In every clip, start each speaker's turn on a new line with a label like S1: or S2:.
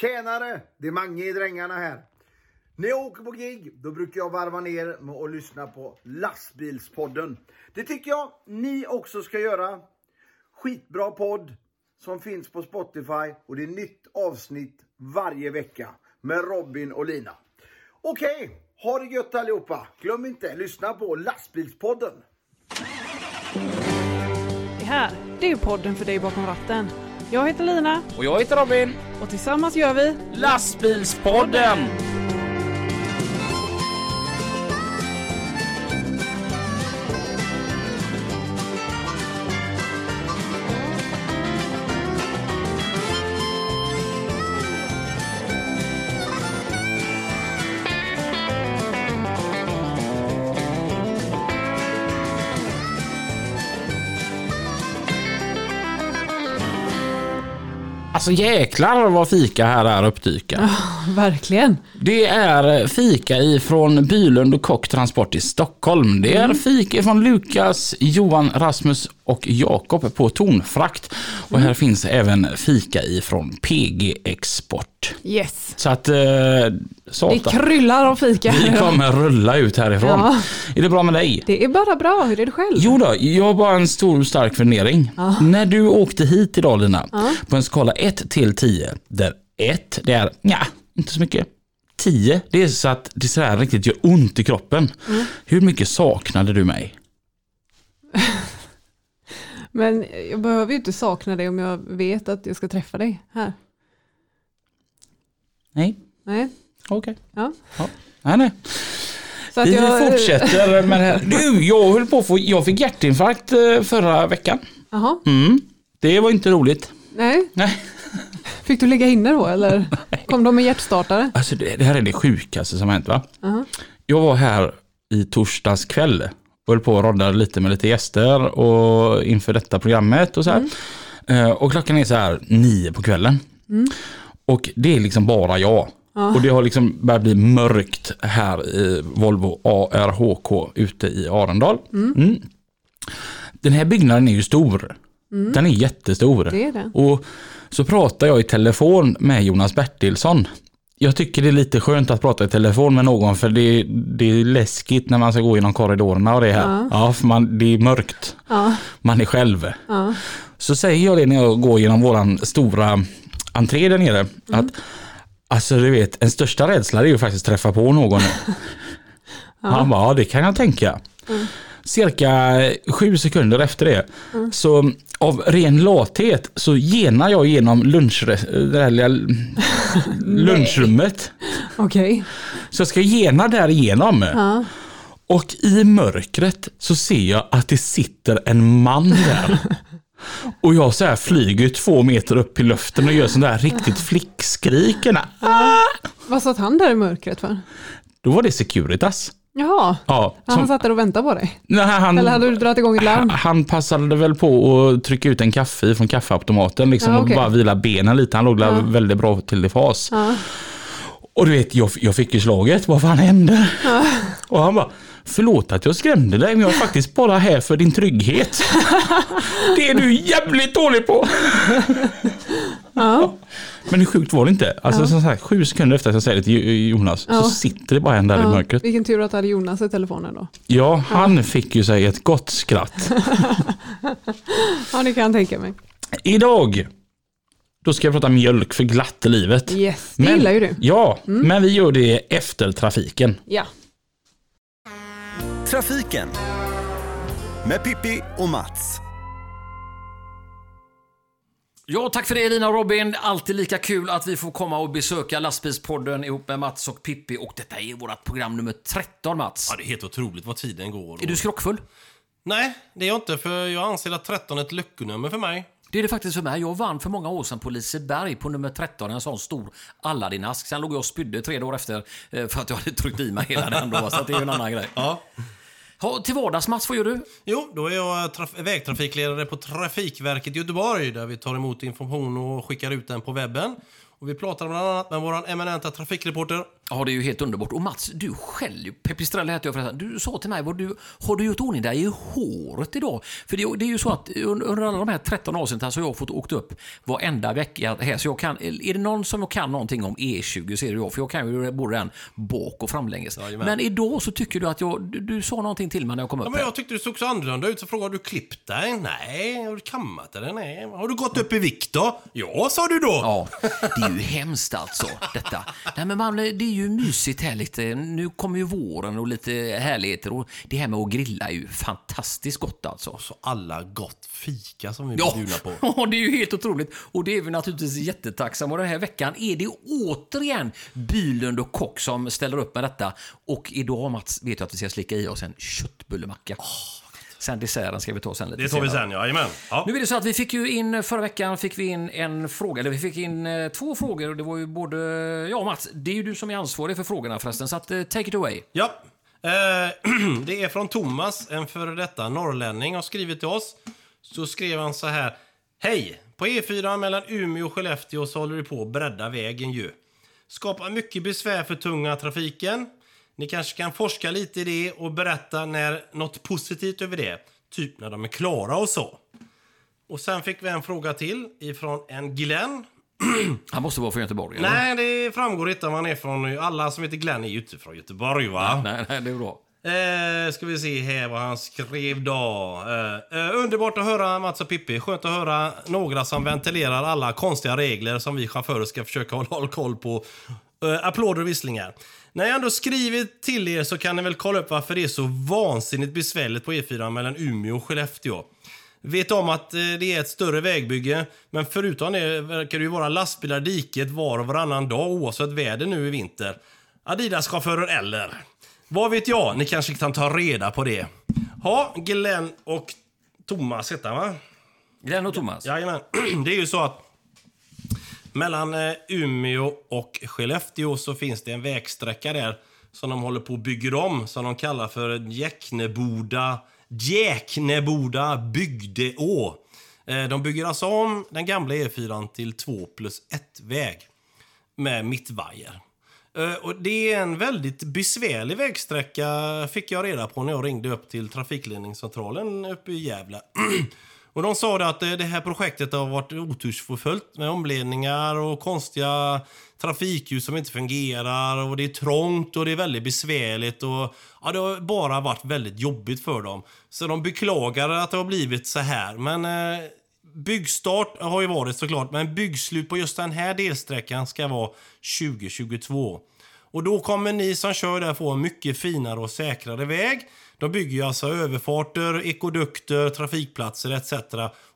S1: Tjenare! Det är Mange i Drängarna här. När jag åker på gig, då brukar jag varva ner med att lyssna på Lastbilspodden. Det tycker jag ni också ska göra. Skitbra podd som finns på Spotify och det är nytt avsnitt varje vecka med Robin och Lina. Okej, ha det gött allihopa. Glöm inte, lyssna på Lastbilspodden.
S2: Det här, det är ju podden för dig bakom ratten. Jag heter Lina
S3: Och jag heter Robin.
S2: och tillsammans gör vi...
S3: Lastbilspodden! Alltså jäklar vad fika här är uppdyka.
S2: Verkligen.
S3: Det är fika ifrån Bylund och Kock Transport i Stockholm. Det är fika från Lukas, Johan, Rasmus och Jakob på Tornfrakt. Och här finns även fika ifrån PG Export.
S2: Yes.
S3: Så att, eh,
S2: Det
S3: satan,
S2: kryllar av fika.
S3: vi kommer rulla ut härifrån.
S2: Ja.
S3: Är det bra med dig?
S2: Det är bara bra, hur är det själv?
S3: Jo då, jag har bara en stor stark fundering. När du åkte hit idag Lina, på en skala 1 till 10, där 1 det är ja, inte så mycket. 10 det är så att det sådär riktigt gör ont i kroppen.
S2: Mm.
S3: Hur mycket saknade du mig?
S2: Men jag behöver ju inte sakna dig om jag vet att jag ska träffa dig här.
S3: Nej,
S2: Nej,
S3: okej.
S2: ja.
S3: Nej, nej.
S2: Så att
S3: Vi
S2: jag...
S3: fortsätter med det här. Du, jag höll på att få, jag fick hjärtinfarkt eh, förra veckan.
S2: Jaha,
S3: Mm. Det var inte roligt.
S2: nej.
S3: Nej.
S2: Fick du ligga inne då eller? Kom de med hjärtstartare?
S3: Alltså det, det här är det sjukaste som har hänt va?
S2: Jaha.
S3: Jag var här i torsdags kväll och höll på och roddade lite med lite gäster och inför detta programmet och så här.
S2: Mm.
S3: Eh, Och klockan är så här nio på kvällen. Och det är liksom bara jag. Och det har liksom börjat bli mörkt här i Volvo ARHK ute i Arendal. Mm. Den här byggnaden är ju stor. Den är jättestor.
S2: Mm. Det är den.
S3: Och så pratar jag i telefon med Jonas Bertilsson. Jag tycker det är lite skönt att prata i telefon med någon för det, det är läskigt när man ska gå genom korridorerna och det här. Ja, för man, det är mörkt.
S2: Ja.
S3: Man är själv.
S2: Ja.
S3: Så säger jag det när jag går genom våran stora entré där nere. Att, alltså du vet, en största rädsla det är ju faktiskt att träffa på någon. Han bara, ja det kan jag tänka. Cirka sju sekunder efter det, så av ren lathet så genar jag genom lunch, det här lilla lunchrummet.
S2: Okej.
S3: Så jag ska gena därigenom. Och i mörkret så ser jag att det sitter en man där. Och jag så här flyger två meter upp i luften och gör sån där riktigt flickskriken.
S2: Vad satt han där i mörkret för?
S3: Då var det Securitas.
S2: Jaha,
S3: Ja,
S2: han
S3: som, Mm.
S2: satt där och väntade på dig?
S3: nej, han,
S2: Eller hade du dragit igång ett larm?
S3: han- han passade väl på att trycka ut en kaffe från kaffeautomaten liksom,
S2: Ja, okej.
S3: och bara vila benen lite. Han låg där väldigt bra till i fas.
S2: Ja.
S3: Och du vet, jag, jag fick ju slaget. Vad fan hände? Och han bara, förlåt att jag skrämde dig, men jag är faktiskt bara här för din trygghet. Det är du jävligt dålig på.
S2: Ja.
S3: Men hur sjukt var det inte? Alltså som sagt, sju sekunder efter att jag säger det till Jo- Jonas,
S2: Ja.
S3: så sitter det bara en där i
S2: Ja,
S3: mörkret.
S2: vilken tur att du hade Jonas i telefonen då.
S3: Ja, han fick ju sig ett gott skratt.
S2: Ja, det kan jag tänka mig.
S3: Idag, då ska jag prata mjölk för glatt i livet.
S2: Yes, det gillar ju du. Mm.
S3: Ja, men vi gör det efter trafiken.
S2: Ja.
S4: Trafiken med Pippi och Mats.
S5: Ja, tack för det Elina och Robin. Alltid lika kul att vi får komma och besöka Lastbilspodden ihop med Mats och Pippi. Och detta är vårt program nummer 13, Mats.
S6: Ja, det är helt otroligt vad tiden går. och-
S5: Är du skrockfull?
S6: Nej, det är jag inte, för jag anser att 13 är ett lyckonummer för mig.
S5: Det är det faktiskt för mig. Jag vann för många år sedan på Liseberg på nummer 13, en sån stor Aladdin-ask. Sen låg jag och spydde tre dagar efter eh, för att jag hade tryckt i mig hela den då, så att det är ju en annan grej.
S6: Ja.
S5: Ha, till vardags, Mats, vad gör du?
S6: Jo, då är jag traf- vägtrafikledare på Trafikverket i Göteborg där vi tar emot information och skickar ut den på webben. Och vi pratar bland annat med vår eminenta trafikreporter
S5: Ja, det är ju helt underbart. Och Mats, du själv, Pepistrelli heter jag förresten, du sa till mig, vad du, har du gjort ordning dig i håret idag? För det, är- det är ju så att under, under alla de här 13 avsnitten så har jag fått åkt upp varenda vecka här. Så jag kan, är det någon som jag kan någonting om E20 så är det jag, för jag kan ju både den bak och framlänges. men idag så tycker du att jag, du, du sa någonting till mig när jag kom upp
S6: Ja, men
S5: här.
S6: jag tyckte du såg så annorlunda ut, så frågade jag, har du klippt dig? Nej. Har du kammat dig? Nej. Har du gått upp i vikt då? Ja, sa du då.
S5: Ja, det är ju hemskt alltså detta. Nej, men man, det är ju mysigt här lite. Nu kommer ju våren och lite härligheter och det här med att grilla är ju fantastiskt gott alltså.
S6: Så alla gott fika som vi blir
S5: Ja,
S6: bjudna på.
S5: ja, det är ju helt otroligt. Och det är vi naturligtvis jättetacksamma. Och den här veckan är det återigen Bylund och Kock som ställer upp med detta. Och idag Mats vet jag att vi ska slicka i oss en köttbullemacka. Sen desserten ska vi ta sen lite
S6: Det tar vi
S5: senare.
S6: sen, ja. Jajamän. Ja.
S5: Nu är det så att vi fick ju in förra veckan fick vi in en fråga, eller vi fick in eh, två frågor och det var ju både, ja Mats, det är ju du som är ansvarig för frågorna förresten, så att eh, take it away.
S6: Ja. Eh, det är från Thomas, en före detta norrlänning, har skrivit till oss. Så skrev han så här. Hej! På E4 mellan Umeå och Skellefteå så håller du på att bredda vägen ju. Skapar mycket besvär för tunga trafiken. Ni kanske kan forska lite i det och berätta när något positivt över det. Typ när de är klara och så. Och sen fick vi en fråga till ifrån en Glenn.
S5: Han måste vara från Göteborg, eller?
S6: Nej, det framgår inte om han är från... Alla som heter Glenn är ju inte från Göteborg va?
S5: Nej, nej, det är bra.
S6: Eh, ska vi se här vad han skrev då. Eh, eh, underbart att höra Mats och Pippi. Skönt att höra några som ventilerar alla konstiga regler som vi chaufförer ska försöka hålla hålla koll på. Eh, applåder och visslingar. När jag ändå skrivit till er så kan ni väl kolla upp varför det är så vansinnigt besvärligt på E4 mellan Umeå och Skellefteå. Vet om att eh, det är ett större vägbygge, men förutom det verkar det ju vara lastbilar i diket var och varannan dag oavsett väder nu i vinter. Adidas-chaufförer eller? Vad vet jag? Ni kanske kan ta reda på det. Ja, Glenn och Thomas heter han va?
S5: Glenn och Thomas.
S6: Jajamän. Det är ju så att mellan eh, Umeå och Skellefteå så finns det en vägsträcka där som de håller på och bygger om, som de kallar för Jäkneboda, Jäkneboda bygdeå. Eh, De bygger alltså om den gamla E4 till 2 plus 1-väg med mittvajer. Eh, Och det är en väldigt besvärlig vägsträcka fick jag reda på när jag ringde upp till trafikledningscentralen uppe i Gävle. och de sa det att eh, det här projektet har varit otursförföljt med omledningar och konstiga trafikljus som inte fungerar och det är trångt och det är väldigt besvärligt och ja, det har bara varit väldigt jobbigt för dem. Så de beklagar att det har blivit så här men eh, Byggstart har ju varit såklart, men byggslut på just den här delsträckan ska vara 2022. Och då kommer ni som kör där få en mycket finare och säkrare väg. De bygger ju alltså överfarter, ekodukter, trafikplatser etc.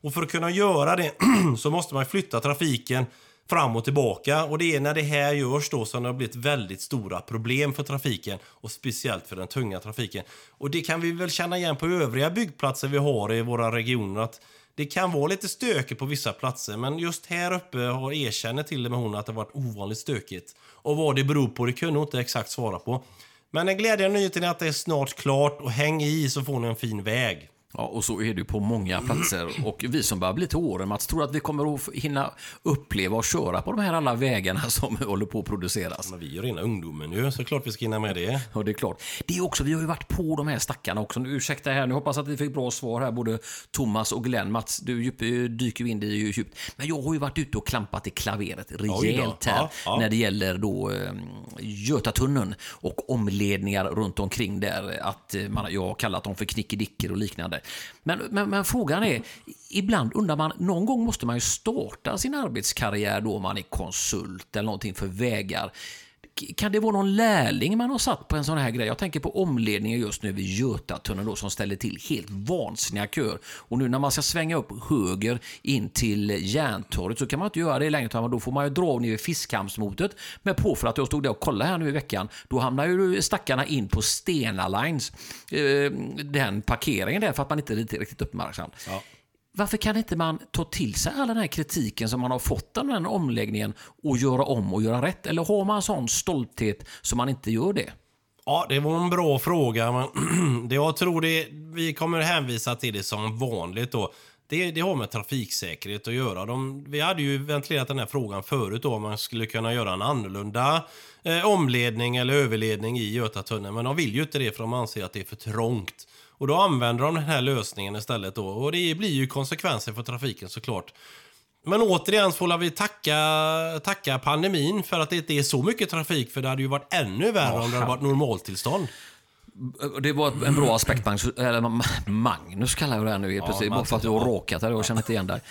S6: Och för att kunna göra det så måste man flytta trafiken fram och tillbaka. Och det är när det här görs då som det har blivit väldigt stora problem för trafiken och speciellt för den tunga trafiken. Och det kan vi väl känna igen på övriga byggplatser vi har i våra regioner att det kan vara lite stökigt på vissa platser men just här uppe har erkänner till och med hon att det har varit ovanligt stökigt. Och vad det beror på det kunde hon inte exakt svara på. Men den glädjande nyheten är att det är snart klart och häng i så får ni en fin väg.
S5: Ja, och så är det ju på många platser. Och vi som börjar bli till åren, Mats, tror att vi kommer att hinna uppleva och köra på de här alla vägarna som håller på att produceras.
S6: Men vi är ju rena ungdomen nu så klart vi ska hinna med det.
S5: Ja, det är klart. Det är också, vi har ju varit på de här stackarna också. Nu, ursäkta här, nu hoppas att vi fick bra svar här, både Thomas och Glenn. Mats, du djup, eh, dyker ju in i ju djupt. Men jag har ju varit ute och klampat i klaveret
S6: Oj
S5: rejält
S6: då.
S5: här
S6: Ja, ja.
S5: när det gäller då eh, Götatunneln och omledningar runt omkring där. Att eh, man, jag har kallat dem för knickedickor och liknande. Men, men, men frågan är, ibland undrar man, någon gång måste man ju starta sin arbetskarriär då om man är konsult eller någonting för vägar. K- Kan det vara någon lärling man har satt på en sån här grej? Jag tänker på omledningen just nu vid Götatunneln då, som ställer till helt vansinniga köer. Och nu när man ska svänga upp höger in till Järntorget så kan man inte göra det längre utan då får man ju dra ner vid Fiskhamnsmotet. Men på för att jag stod där och kollade här nu i veckan, då hamnar ju stackarna in på Stena Lines, eh, den parkeringen där för att man inte är riktigt- riktigt uppmärksam. Varför kan inte man ta till sig all den här kritiken som man har fått av den här omläggningen och göra om och göra rätt? Eller har man sån stolthet så man inte gör det?
S6: Ja, det var en bra fråga. Men det jag tror det, vi kommer hänvisa till det som vanligt då. Det, det har med trafiksäkerhet att göra. De, vi hade ju ventilerat den här frågan förut då, om man skulle kunna göra en annorlunda eh, omledning eller överledning i Götatunneln. Men de vill ju inte det för de anser att det är för trångt. Och då använder de den här lösningen istället då. Och det blir ju konsekvenser för trafiken såklart. Men återigen så får vi tacka, tacka pandemin för att det inte är så mycket trafik. För det hade ju varit ännu värre om det hade varit normaltillstånd.
S5: Det var en bra aspekt, Magnus, eller Ma- Magnus kallar jag det här nu helt plötsligt, bara för att du har råkat där, jag känner inte igen dig.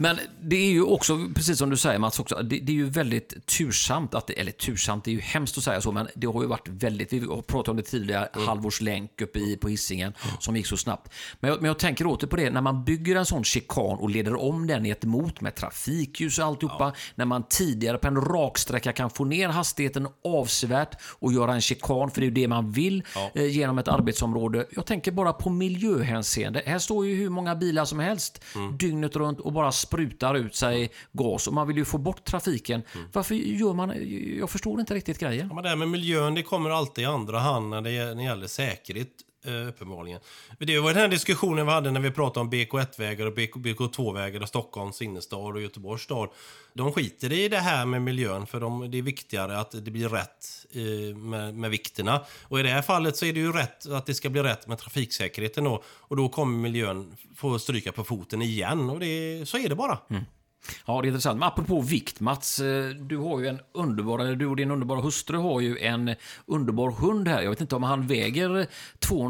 S5: Men det är ju också, precis som du säger Mats, också, det, det är ju väldigt tursamt, att det, eller tursamt, det är ju hemskt att säga så, men det har ju varit väldigt, vi har pratat om det tidigare, Halvors länk uppe i, på Hisingen som gick så snabbt. Men jag, men jag tänker åter på det, när man bygger en sån chikan och leder om den i ett mot med trafikljus och alltihopa, när man tidigare på en raksträcka kan få ner hastigheten avsevärt och göra en chikan, för det är ju det man vill, eh, genom ett arbetsområde. Jag tänker bara på miljöhänseende. Här står ju hur många bilar som helst dygnet runt och bara sprutar ut sig gas och man vill ju få bort trafiken. Varför gör man... Jag förstår inte riktigt grejen.
S6: Ja, men det här med miljön, det kommer alltid i andra hand när det, när det gäller säkerhet. eh, Uppenbarligen. Det var den här diskussionen vi hade när vi pratade om BK1-vägar och BK, BK2-vägar i Stockholms innerstad och Göteborgs stad. De skiter i det här med miljön för de, det är viktigare att det blir rätt eh, med, med vikterna. Och i det här fallet så är det ju rätt att det ska bli rätt med trafiksäkerheten då. Och då kommer miljön få stryka på foten igen och det, så är det bara.
S5: Ja, det är intressant. Men apropå vikt, Mats. eh, Du har ju en underbar, eller du och din underbara hustru har ju en underbar hund här. Jag vet inte om han väger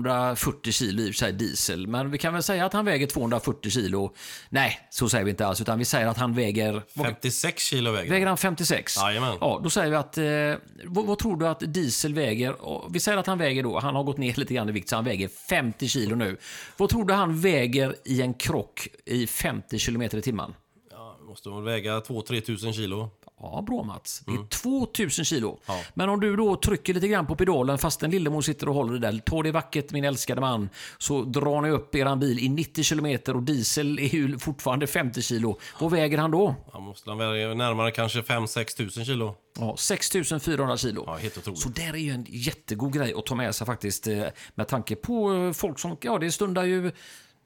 S5: 240 kilo i och för sig, diesel. Men vi kan väl säga att han väger 240 kilo. Nej, så säger vi inte alls. Utan vi säger att han väger...
S6: 56 kilo väger den.
S5: Väger han 56?
S6: Jajamän.
S5: Ja, då säger vi att... Eh, vad, vad tror du att diesel väger? Och Vi säger att han väger då, han har gått ner lite grann i vikt så han väger 50 kilo nu. Vad tror du han väger i en krock i 50 kilometer i timmen?
S6: Ja, måste väl väga 2-3 tusen kilo.
S5: Ja, bra Mats. Det är 2000 kilo. Men om du då trycker lite grann på pedalen fast den lillemor sitter och håller i den. Ta det vackert min älskade man. Så drar ni upp eran bil i 90 kilometer och diesel är ju fortfarande 50 kilo. Vad väger han då?
S6: Han måste han väga närmare kanske 5-6 tusen kilo.
S5: Ja, 6400 kilo.
S6: Ja, helt otroligt.
S5: Så där är ju en jättegod grej att ta med sig faktiskt eh, med tanke på eh, folk som, ja det stundar ju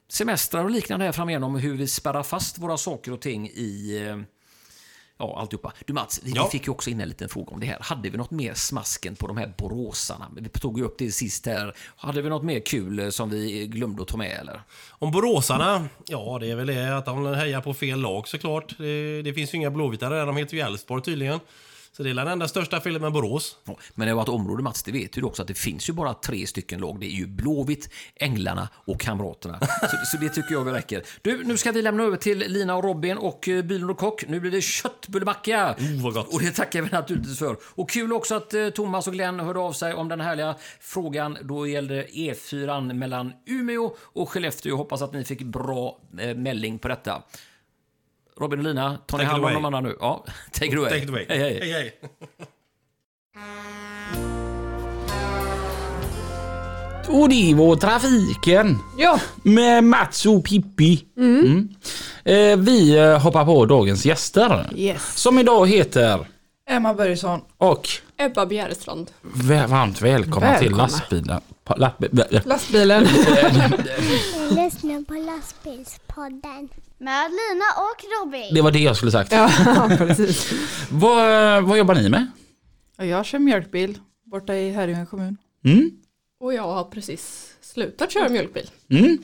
S5: semestrar och liknande här framigenom hur vi spärrar fast våra saker och ting i eh, Ja, alltihopa. Du Mats, vi vi
S6: Ja.
S5: fick ju också in en liten fråga om det här. Hade vi något mer smasken på de här boråsarna? Vi tog ju upp det sist här. Hade vi något mer kul eh, som vi glömde att ta med eller?
S6: Om boråsarna, ja det är väl det att de hejar på fel lag såklart. Det, det finns ju inga blåvita där, de heter ju Elfsborg tydligen. Så det är den enda största felet med Borås.
S5: Ja, Men det var ett område Mats, det vet du också att det finns ju bara tre stycken lag. Det är ju Blåvitt, Änglarna och Kamraterna. Så, så det tycker jag väl räcker. Du, nu ska vi lämna över till Lina och Robin och eh, Bylund och Kock. Nu blir det köttbullemacka.
S6: Oh, vad gott.
S5: Och det tackar vi naturligtvis för. Och kul också att eh, Thomas och Glenn hörde av sig om den härliga frågan. Då gällde E4 mellan Umeå och Skellefteå. Jag hoppas att ni fick bra eh, mälling på detta. Robin och Lina, tar ni
S6: Take it
S5: hand om
S6: away.
S5: de andra nu? Ja, take it away.
S6: Take it away.
S5: Hej, hej.
S6: Hej, hej.
S3: Och det var trafiken
S2: Ja,
S3: med Mats och Pippi. Mm. Eh, vi eh, hoppar på dagens gäster.
S2: yes.
S3: Som idag heter
S7: Emma Börjesson.
S3: och
S8: Ebba Bjärestrand.
S3: vä- varmt välkomna, till
S2: Välkomna.
S3: lastbilen. Pa- lastbi- vä- vä-
S2: Lastbilen.
S9: Lyssna på lastbilspodden. Med Lina och Robin.
S3: Det var det jag skulle sagt.
S2: ja, precis.
S3: Vad, vad jobbar ni med?
S7: Och jag kör mjölkbil borta i Herrljunga kommun.
S3: Mm?
S8: Och jag har precis slutat köra mjölkbil.
S3: Mm?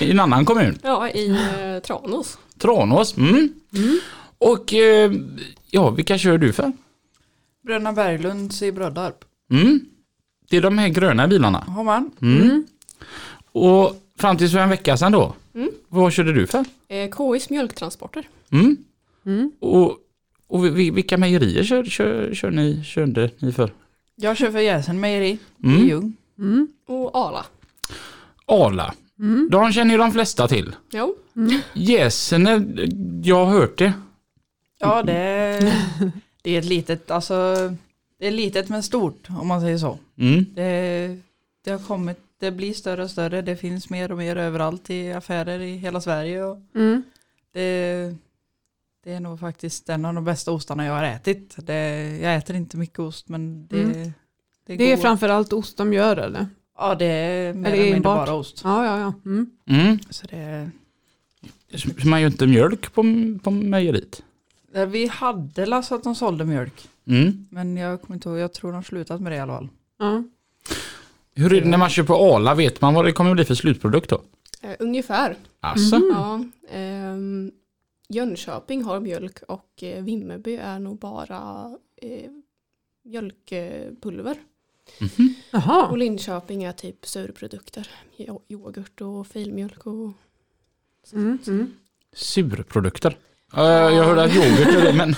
S3: I en annan kommun?
S8: Ja, i eh, Tranås.
S3: Tranås? Mm. Och eh, ja, vilka kör du för?
S7: Bröderna Berglunds i Brödarp.
S3: Mm. Det är de här gröna bilarna.
S7: Har man?
S3: Och fram tills för en vecka sedan då, vad körde du för?
S8: Eh, KIs mjölktransporter.
S3: Mm. Och, och vi- vi- vilka mejerier kör, kör, kör ni, körde ni för? Mm.
S7: Jag kör för Jäsen Mejeri i Ljung.
S8: Och Ala.
S3: Arla. De känner ju de flesta till.
S8: Jo.
S3: Gäsene, jag har hört det.
S7: Ja, det är, det är ett litet, alltså det är litet men stort om man säger så.
S3: Mm.
S7: Det, det har kommit, det blir större och större, det finns mer och mer överallt i affärer i hela Sverige. Och
S2: Mm.
S7: det, det är nog faktiskt en av de bästa ostarna jag har ätit. Det, jag äter inte mycket ost men det,
S2: Mm.
S7: det,
S2: Det är
S7: går.
S2: framförallt ost de gör eller?
S7: Ja det är mer
S2: Eller
S7: eller mindre
S2: enbart?
S7: bara ost.
S2: Ja, ja, ja. Mm.
S3: Mm.
S7: Så det,
S3: Så Man gör inte mjölk på, på mejeriet.
S7: Eh, Vi hade la så att de sålde mjölk.
S3: Mm.
S7: Men jag kommer inte ihåg, jag tror de slutat med det i alla fall.
S2: Ja.
S3: Hur är det när man köper Arla? Vet man vad det kommer bli för slutprodukt då?
S8: Eh, ungefär.
S3: Alltså,
S8: Ja, ehm, Jönköping har mjölk och eh, Vimmerby är nog bara eh, mjölkpulver. Och
S3: Mm-hmm.
S2: Jaha.
S8: Linköping är typ surprodukter. Jo- Yoghurt och filmjölk och
S2: Mm, mm.
S3: surprodukter. Eh, jag hörde att yoghurt är det, men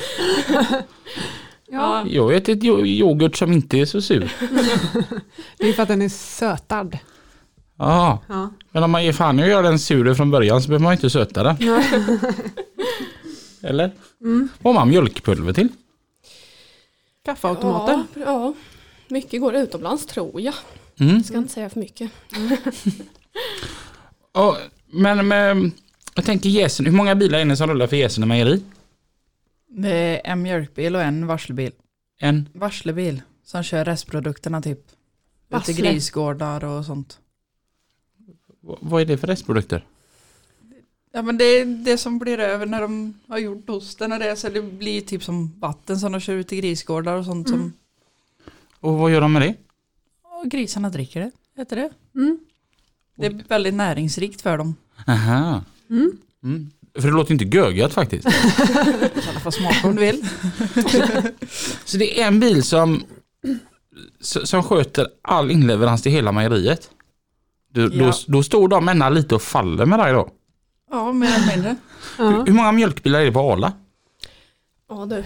S2: Ja.
S3: jag har ätit yo- yoghurt som inte är så sur.
S2: Det är för att den är sötad.
S3: Ja,
S2: Ja.
S3: men om man ger fan i att göra den sur från början så behöver man ju inte söta den. Eller? Vad har man mjölkpulver till?
S2: Kaffeautomater.
S8: Ja, ja. Mycket går utomlands tror jag.
S3: Mm.
S8: Ska inte säga för mycket.
S3: Ja, men, men jag tänker jäsen, hur många bilar är det som rullar för jäsen i mejeri?
S7: Med en mjölkbil och en varselbil.
S3: En?
S7: Varselbil som kör restprodukterna typ. Ute i
S2: Vassle.
S7: grisgårdar och sånt.
S3: V- Vad är det för restprodukter?
S7: Ja men det är det som blir över när de har gjort osten och det. Så det blir typ som vatten som de kör ut i grisgårdar och sånt som
S3: Och vad gör de med det?
S7: och grisarna dricker det. Heter det.
S2: Mm.
S7: Det är väldigt näringsrikt för dem.
S3: Aha. Mm. För det låter ju inte gögat faktiskt.
S7: Så alla får smaka om du vill.
S3: Så det är en bil som, s- som sköter all inleverans till hela mejeriet. Du, då,
S7: Ja.
S3: då står de ena lite och faller med dig då.
S7: Ja mer eller mindre.
S3: Hur, hur många mjölkbilar är det på Arla?
S8: Ja du.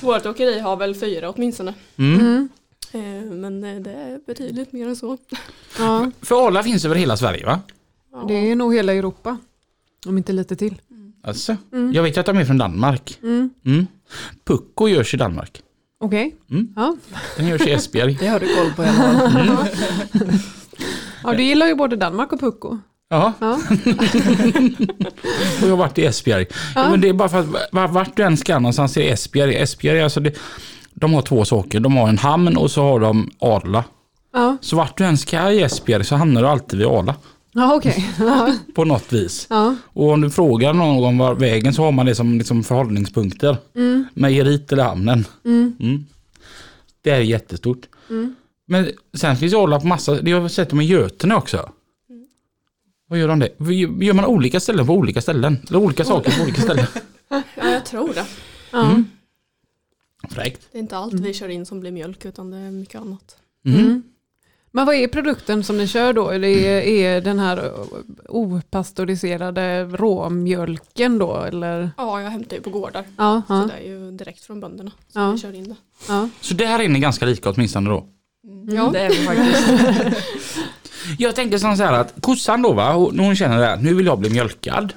S8: Vårt åkeri har väl fyra åtminstone.
S3: Mm.
S8: Eh, Men eh, det är betydligt mer än så.
S2: Ja.
S3: För Arla finns över hela Sverige va?
S8: Ja.
S2: Det är nog hela Europa. Om inte lite till.
S3: Alltså, Jag vet ju att de är från Danmark. Mm. Pucko görs i Danmark.
S2: Okej.
S3: Mm.
S2: Ja.
S3: Den görs i Esbjerg.
S7: Det har du koll på i alla fall.
S2: ja, du gillar ju både Danmark och Pucko.
S3: Ja,
S2: Ja.
S3: och jag har varit i Esbjerg. Ja. Men det är bara för att va- vart du än ska någonstans är Esbjerg. Esbjerg är alltså det, de har två saker. De har en hamn och så har de Arla.
S2: Ja,
S3: Så vart du än ska i Esbjerg så hamnar du alltid vid Arla.
S2: ja okej. Ja.
S3: På något vis.
S2: Ja.
S3: Och om du frågar någon var vägen så har man det som liksom förhållningspunkter. Mm. Mejeriet eller hamnen. Mm. Det är jättestort. Men sen finns ju Arla på massa, det har jag sett dem i Götene också. Vad gör de det? Gör man olika ställen på olika ställen? Eller olika saker på olika ställen?
S8: Ja, jag tror det.
S2: Ja.
S3: Fräckt.
S8: Det är inte allt vi kör in som blir mjölk utan det är mycket annat.
S3: Mm.
S2: Mm. Men vad är produkten som ni kör då? Eller är,
S8: Mm.
S2: är den här opastöriserade råmjölken då? Eller?
S8: Ja, jag hämtar ju på gårdar.
S2: Ja,
S8: Så
S2: ja,
S8: det är ju direkt från bönderna som
S2: Ja.
S8: vi kör in det.
S2: ja.
S3: Så det här inne är ganska lika åtminstone då.
S7: Ja. Det är vi faktiskt.
S3: Jag tänker som så här att kossan då va, hon, hon känner det här, nu vill jag bli mjölkad.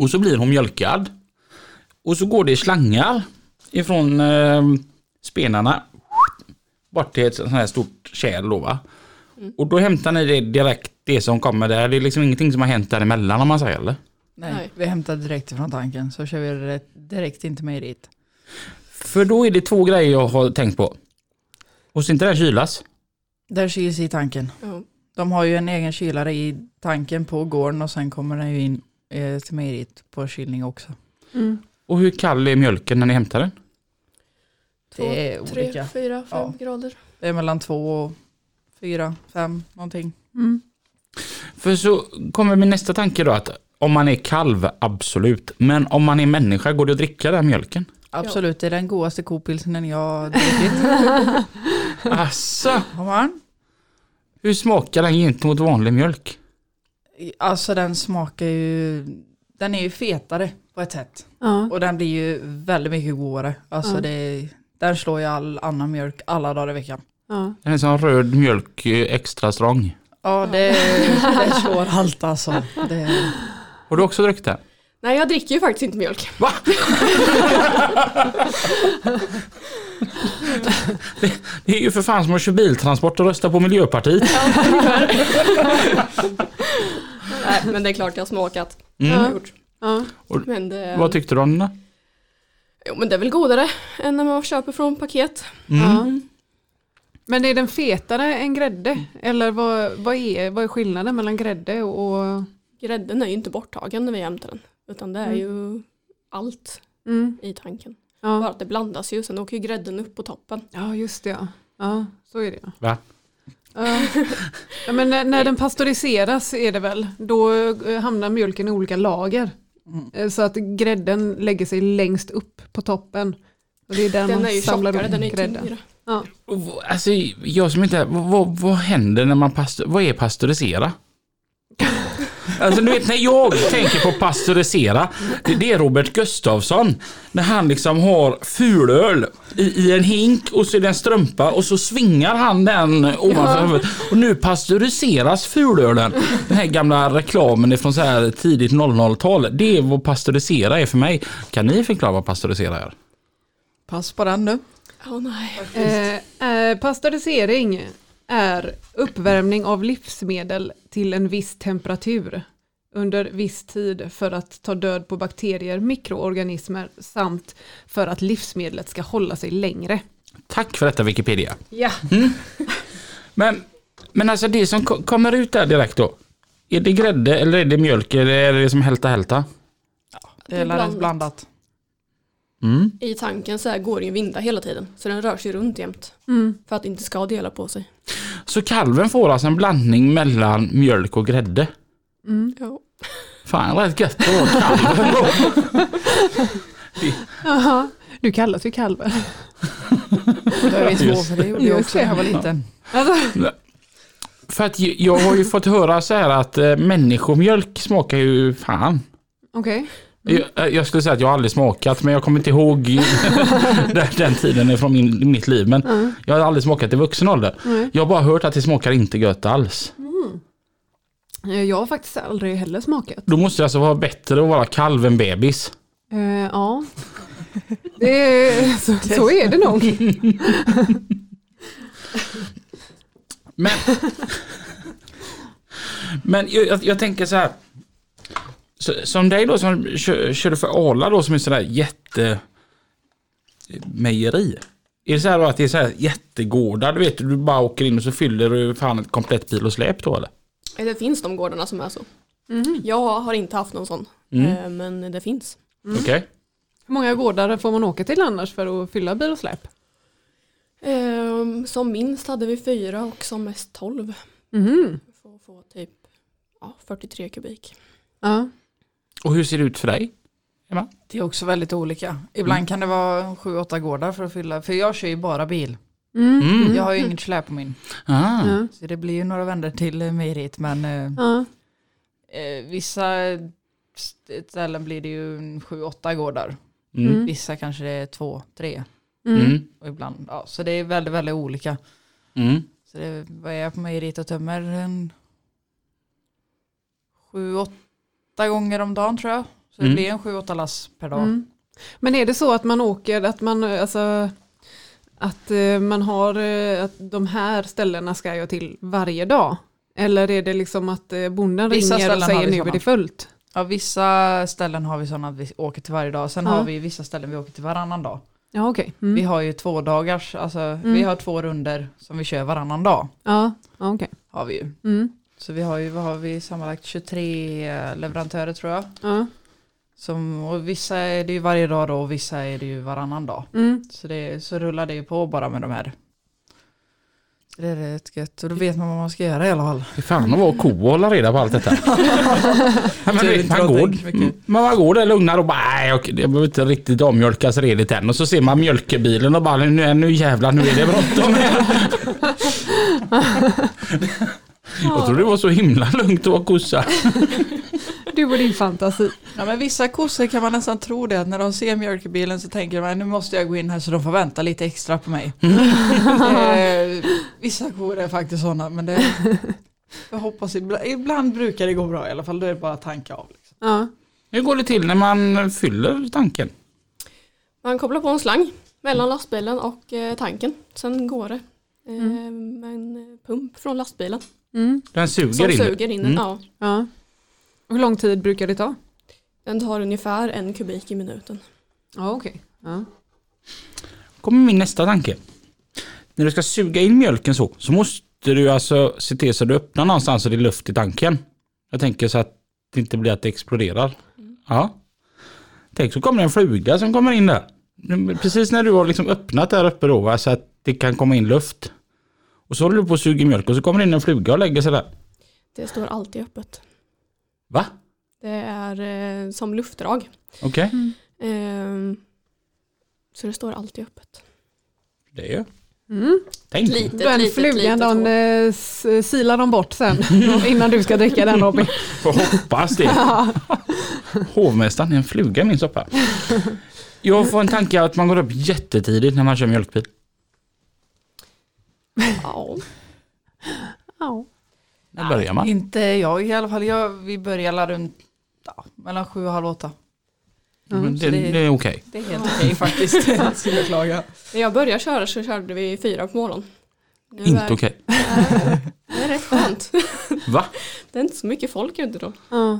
S3: Och så blir hon mjölkad. Och så går det slangar ifrån eh, spenarna bort till ett sånt här stort kärl då va. Och då hämtar ni det direkt, det som kommer där. Det är liksom ingenting som har hänt däremellan om man säger eller?
S7: Nej,
S8: Nej.
S7: vi hämtar direkt från tanken så kör vi det direkt in till mejeriet.
S3: För då är det två grejer jag har tänkt på. Och så inte den kylas.
S7: Där kyls i tanken.
S8: Ja.
S7: De har ju en egen kylare i tanken på gården och sen kommer den ju in eh, till mejeriet på kylning också.
S3: Och hur kall är mjölken när ni hämtar den?
S8: Två,
S7: Det är
S8: tre,
S7: olika.
S8: fyra, fem
S7: Ja.
S8: grader.
S7: Det är mellan två och fyra, fem någonting.
S2: Mm.
S3: För så kommer min nästa tanke då att om man är kalv, absolut. Men om man är människa, går det att dricka den här mjölken?
S7: Absolut, det är den godaste kopilsenen jag har druckit.
S3: Asså,
S7: Har man?
S3: hur smakar den gentemot vanlig mjölk?
S7: Alltså den smakar ju, den är ju fetare på ett sätt.
S2: ja.
S7: Och den blir ju väldigt mycket godare. Alltså
S2: Ja.
S7: det, den slår ju all annan mjölk alla dagar i veckan.
S2: ja.
S3: Den är som röd mjölk, eh, extra strong.
S7: Ja, det, det slår allt alltså. Det,
S3: Har du också druckit den?
S8: Nej, jag dricker ju faktiskt inte mjölk.
S3: Det är ju för fan som att köra biltransport och rösta på Miljöpartiet.
S8: Nej, men det är klart jag har smakat.
S3: Mm.
S8: Ja. Gjort.
S2: ja.
S8: Men det,
S3: Vad tyckte du om den? då?
S8: jo, men det är väl godare än när man köper från paket.
S2: ja. Men är den
S8: Mm.
S2: fetare än grädde? Eller vad, vad, är, vad är skillnaden mellan grädde och...
S8: Grädden är ju inte borttagen när vi jämtar den. Utan det är
S2: Mm.
S8: ju allt
S2: Mm.
S8: i tanken. Bara
S2: Ja.
S8: att det blandas ju. Sen åker ju grädden upp på toppen.
S2: ja, just det. Ja, ja så är det. ja.
S3: Va?
S2: Ja. Ja, men när, när den pastöriseras är det väl, då eh, hamnar mjölken i olika lager.
S8: Mm.
S2: Eh, Så att grädden lägger sig längst upp på toppen. Och det är där
S8: Den
S2: man
S8: är ju
S2: samlar
S8: tjockare,
S2: upp
S8: den är ju
S2: grädden.
S8: tyngre.
S2: Ja.
S3: Och v- Alltså, jag som inte... Vad, vad, vad händer när man pastor... Vad är pastörisera? Alltså du vet när jag tänker på pastörisera, det, det är Robert Gustafsson. När han liksom har fulöl i, i en hink och så är det en strumpa och så svingar han den ovanför huvudet. Och nu pastöriseras fulölen. Den här gamla reklamen från så här tidigt 00-tal. Det är vad pastörisera är för mig. Kan ni förklara vad pastörisera är?
S7: Pass på den nu.
S8: Åh nej.
S2: Eh, eh, pastörisering är uppvärmning av livsmedel till en viss temperatur under viss tid för att ta död på bakterier, mikroorganismer samt för att livsmedlet ska hålla sig längre.
S3: Tack för detta Wikipedia.
S2: Ja.
S3: Men, men alltså det som ko- kommer ut där direkt då? Är det grädde eller är det mjölk eller är det som hälta hälta?
S7: Det är
S8: blandat.
S7: blandat. blandat.
S3: Mm.
S8: I tanken så här går det ju vinda hela tiden. Så den rör sig runt jämt.
S2: Mm.
S8: För att det inte ska dela på sig.
S3: Så kalven får alltså en blandning mellan mjölk och grädde?
S2: Mm.
S8: Ja.
S3: Fan rätt gött att vara kalv.
S2: Aha. Du kallas ju kalven.
S7: Då är vi små, för det gjorde jag
S2: Just
S7: också när jag var liten.
S2: Alltså,
S3: För att ju- jag har ju fått höra så här att eh, människomjölk smakar ju fan.
S2: Okej.
S3: Jag, eh, jag skulle säga att jag aldrig smakat men jag kommer inte ihåg den, den tiden från min, mitt liv. Men jag har aldrig smakat i vuxen ålder.
S2: Nej.
S3: Jag har bara hört att det smakar inte gött alls.
S2: Eh, Jag har faktiskt aldrig heller smakat.
S3: Då måste det alltså vara bättre att vara kalv än bebis.
S2: Eh, ja. Det är, så, så är det nog.
S3: Men, men jag, jag, jag tänker så här. Så, som dig då som kö- körde för Arla då som är sådär jätte mejeri. Är det så här då att det är så här jättegårdar du vet du bara åker in och så fyller du fan ett komplett bil och släp då eller?
S8: Eh, Det finns de gårdarna som är så.
S2: Mhm.
S8: Jag har inte haft någon sån.
S3: Mm.
S8: eh, Men det finns.
S3: Okej.
S2: Hur många gårdar får man åka till annars för att fylla bil och släp?
S8: Ehm, som minst hade vi fyra och som mest tolv.
S2: Mhm.
S8: För att få typ ja, 43 kubik.
S2: Ja.
S3: Och hur ser det ut för dig?
S7: Det är också väldigt olika. Ibland
S3: Mm.
S7: kan det vara sju, åtta gårdar för att fylla. För jag kör ju bara bil.
S2: Mm.
S3: Mm.
S7: Jag har ju inget släp på min.
S3: Ah.
S2: Ja.
S7: Så det blir ju några vändor till eh, mejeriet. Men eh,
S2: Ja.
S7: eh, vissa st- ställen blir det ju en sju, åtta gårdar.
S3: Mm.
S7: Vissa kanske det är två, tre.
S2: Mm.
S3: Mm.
S7: Och ibland, ja, så det är väldigt, väldigt olika.
S3: Mm.
S7: Så det, vad är jag på mejeriet och tömmer? En, sju, åtta gånger om dagen tror jag. Så det
S3: Mm.
S7: blir en sju, åtta lass per dag.
S2: Mm. Men är det så att man åker, att man, eh, alltså, att eh, man har, eh, att de här ställena ska jag till varje dag? Eller är det liksom att eh, bonden
S7: Vissa
S2: ringer och
S7: ställen har
S2: säger
S7: vi
S2: nu är
S7: sådana.
S2: det fullt?
S7: Ja, vissa ställen har vi sådana att vi åker till varje dag. Sen
S2: Ja.
S7: har vi vissa ställen vi åker till varannan dag.
S2: Ja okej.
S7: Vi
S2: Mm.
S7: har ju två dagars, alltså vi har två runder som vi kör varannan dag.
S2: Ja, ja okej.
S7: Har vi ju.
S2: Mm.
S7: Så vi har ju, vad har vi sammanlagt 23 leverantörer tror jag.
S2: Ja.
S7: Som, och vissa är det ju varje dag då och vissa är det ju varannan dag.
S2: Mm.
S7: Så, det, så rullar det ju på bara med de här. Så det är rätt gött och då vet man vad man ska göra i alla fall.
S3: Det är fan att vara ko och hålla reda på allt detta. Ja, men,
S7: Tur
S3: du vet,
S7: inte
S3: man,
S7: jag
S3: går, Mm.
S7: tänker så mycket.
S3: man, man går där lugnare och bara nej jag, jag behöver inte riktigt avmjölkas redigt än. Och så ser man mjölkebilen och bara nu, nu jävlar nu är det bråttom här. Jag trodde det var så himla lugnt att vara kossa.
S2: Du och din fantasi.
S7: Ja men vissa kossor kan man nästan tro det att när de ser mjölkbilen så tänker man nu måste jag gå in här så de får vänta lite extra på mig. eh, vissa kor är faktiskt sådana men det, jag hoppas ibland, ibland brukar det gå bra i alla fall då är det bara att tanka av. Liksom.
S2: Ja.
S3: Hur går det till när man fyller tanken?
S8: Man kopplar på en slang mellan lastbilen och eh, tanken. Sen går det eh, med en pump från lastbilen.
S2: Mm.
S3: Den suger
S8: Som
S3: in.
S8: suger in den.
S3: Mm.
S8: Ja,
S2: ja. Hur lång tid brukar det ta?
S8: den tar ungefär en kubik i minuten.
S2: Ja okej. Ja.
S3: kommer min nästa tanke. När du ska suga in mjölken så, så måste du alltså se till så du öppnar någonstans så det är luft i tanken. Jag tänker så att det inte blir att det exploderar. Ja. Tänk så kommer det en fluga som kommer in där. Precis när du har liksom öppnat där uppe då va, så att det kan komma in luft. Och så håller du på och suger mjölk och så kommer det in en fluga och lägger sig där.
S8: Det står alltid öppet.
S3: Va?
S8: Det är eh, som luftdrag.
S3: Okej.
S8: Ehm, så det står alltid öppet.
S3: Det är ju.
S2: Mm.
S3: Tänk.
S10: Litet,
S2: Den
S10: litet,
S2: flugan
S10: litet
S2: den
S10: hår.
S2: eh, s- silar de bort sen innan du ska dricka den Robin.
S3: Får hoppas det. Hovmästaren är en fluga i min soppa. Jag får en tanke att man går upp jättetidigt när man kör mjölkbil.
S8: Ja.
S2: Ja.
S3: När börjar man?
S7: Inte jag i alla fall. Jag, vi börjar runt ja, mellan sju och halv åtta.
S3: Men det,
S7: så det-
S3: det är okej.
S7: Det är helt okej faktiskt. Jag skulle klaga.
S8: När jag började köra så körde vi fyra på morgonen. Nu är-
S3: Inte okej.
S8: Det är rätt skönt.
S3: Va?
S8: Det är inte så mycket folk ute då.
S2: Ja.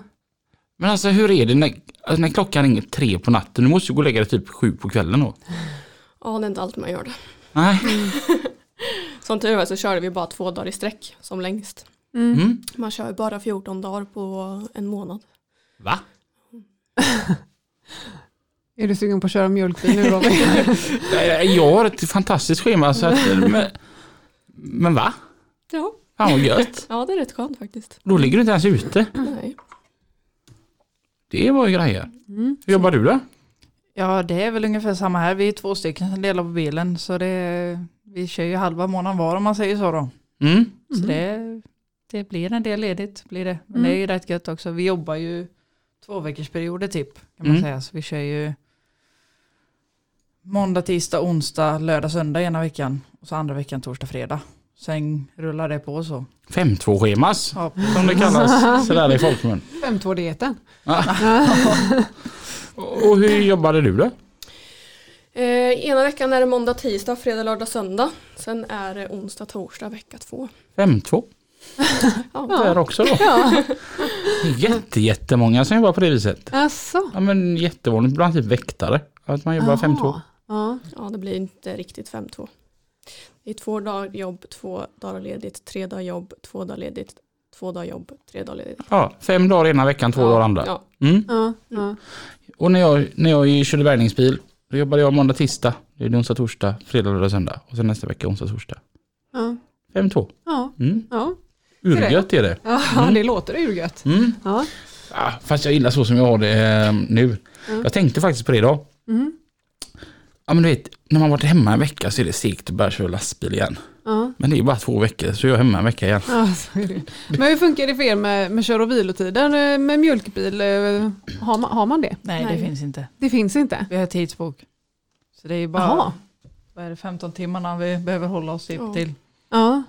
S3: Men alltså hur är det när, alltså, när klockan ringer tre på natten? Du måste ju gå och lägga dig typ sju på kvällen då.
S8: Ja, det är inte alltid man gör det.
S3: Nej.
S8: Som tur var så körde vi bara två dagar i sträck som längst.
S3: Mm.
S8: Man kör ju bara 14 dagar på en månad.
S3: Va?
S2: Är du sugen på att köra mjölkbil nu Robin?
S3: Nej, Jag har ett fantastiskt schema. Så att, men, men va?
S8: Ja,
S3: Fan vad gött.
S8: ja det är rätt skönt faktiskt.
S3: Då ligger du inte ens ute.
S8: Nej.
S3: Det var ju grejer.
S7: Mm.
S3: Hur jobbar du då?
S7: Ja, det är väl ungefär samma här. Vi är två stycken som delar på bilen. Så det, vi kör ju halva månaden var om man säger så då.
S3: Mm.
S7: Så det, det blir en del ledigt. Blir det. Men det är ju rätt gött också. Vi jobbar ju två veckors perioder typ. Kan man
S3: Mm.
S7: säga. Så vi kör ju måndag, tisdag, onsdag, lördag, söndag ena veckan. Och så andra veckan torsdag, fredag. Sen rullar det på så.
S3: 5-2-schemas
S7: Ja,
S3: som det kallas sådär i folkmun.
S2: 5-2-dieten.
S3: Och hur jobbade du då?
S8: Eh, ena veckan är det måndag, tisdag, fredag, lördag, söndag. Sen är det onsdag, torsdag vecka två.
S3: 5-2
S8: Ja.
S3: där också då. Jätte, jättemånga som jobbar på det viset.
S2: Alltså.
S3: Ja men jättevanligt bland typ väktare. Att man jobbar 5-2.
S2: Ja.
S8: ja, det blir inte riktigt 5-2. Det är två dagar jobb, två dagar ledigt, tre dagar jobb, två dagar ledigt, två dagar jobb, tre dagar ledigt.
S3: Ja, fem dagar ena veckan, två
S8: ja,
S3: dagar andra.
S8: Ja.
S3: Mm.
S2: Ja. Ja.
S3: Och när jag, när jag körde bärgningsbil, då jobbade jag måndag, tisdag, det är onsdag, torsdag, fredag, lördag, söndag. Och sen nästa vecka onsdag, torsdag.
S2: Ja.
S3: 5-2.
S2: Ja.
S3: Mm.
S2: Ja.
S3: Urgött är det.
S2: ja, det låter urgött.
S3: Mm.
S2: Ja.
S3: Ah, fast jag gillar så som jag har det eh, nu. Jag tänkte faktiskt på det idag.
S2: Mm.
S3: Ja men du vet, när man varit hemma en vecka så är det segt att börja köra lastbil igen.
S2: Ja.
S3: Men det är bara två veckor så är jag hemma en vecka igen.
S2: Ja, så är det. Men hur funkar det för er med, med kör och vilotider eh, med mjölkbil? eh, Har man, har man det?
S7: Nej,
S8: Nej.
S7: det finns inte.
S2: Det finns inte?
S7: Vi har tidsbok. Så det är ju bara
S2: Jaha.
S7: vad är det, 15 timmarna vi behöver hålla oss typ
S8: Ja.
S7: till.
S2: Ja.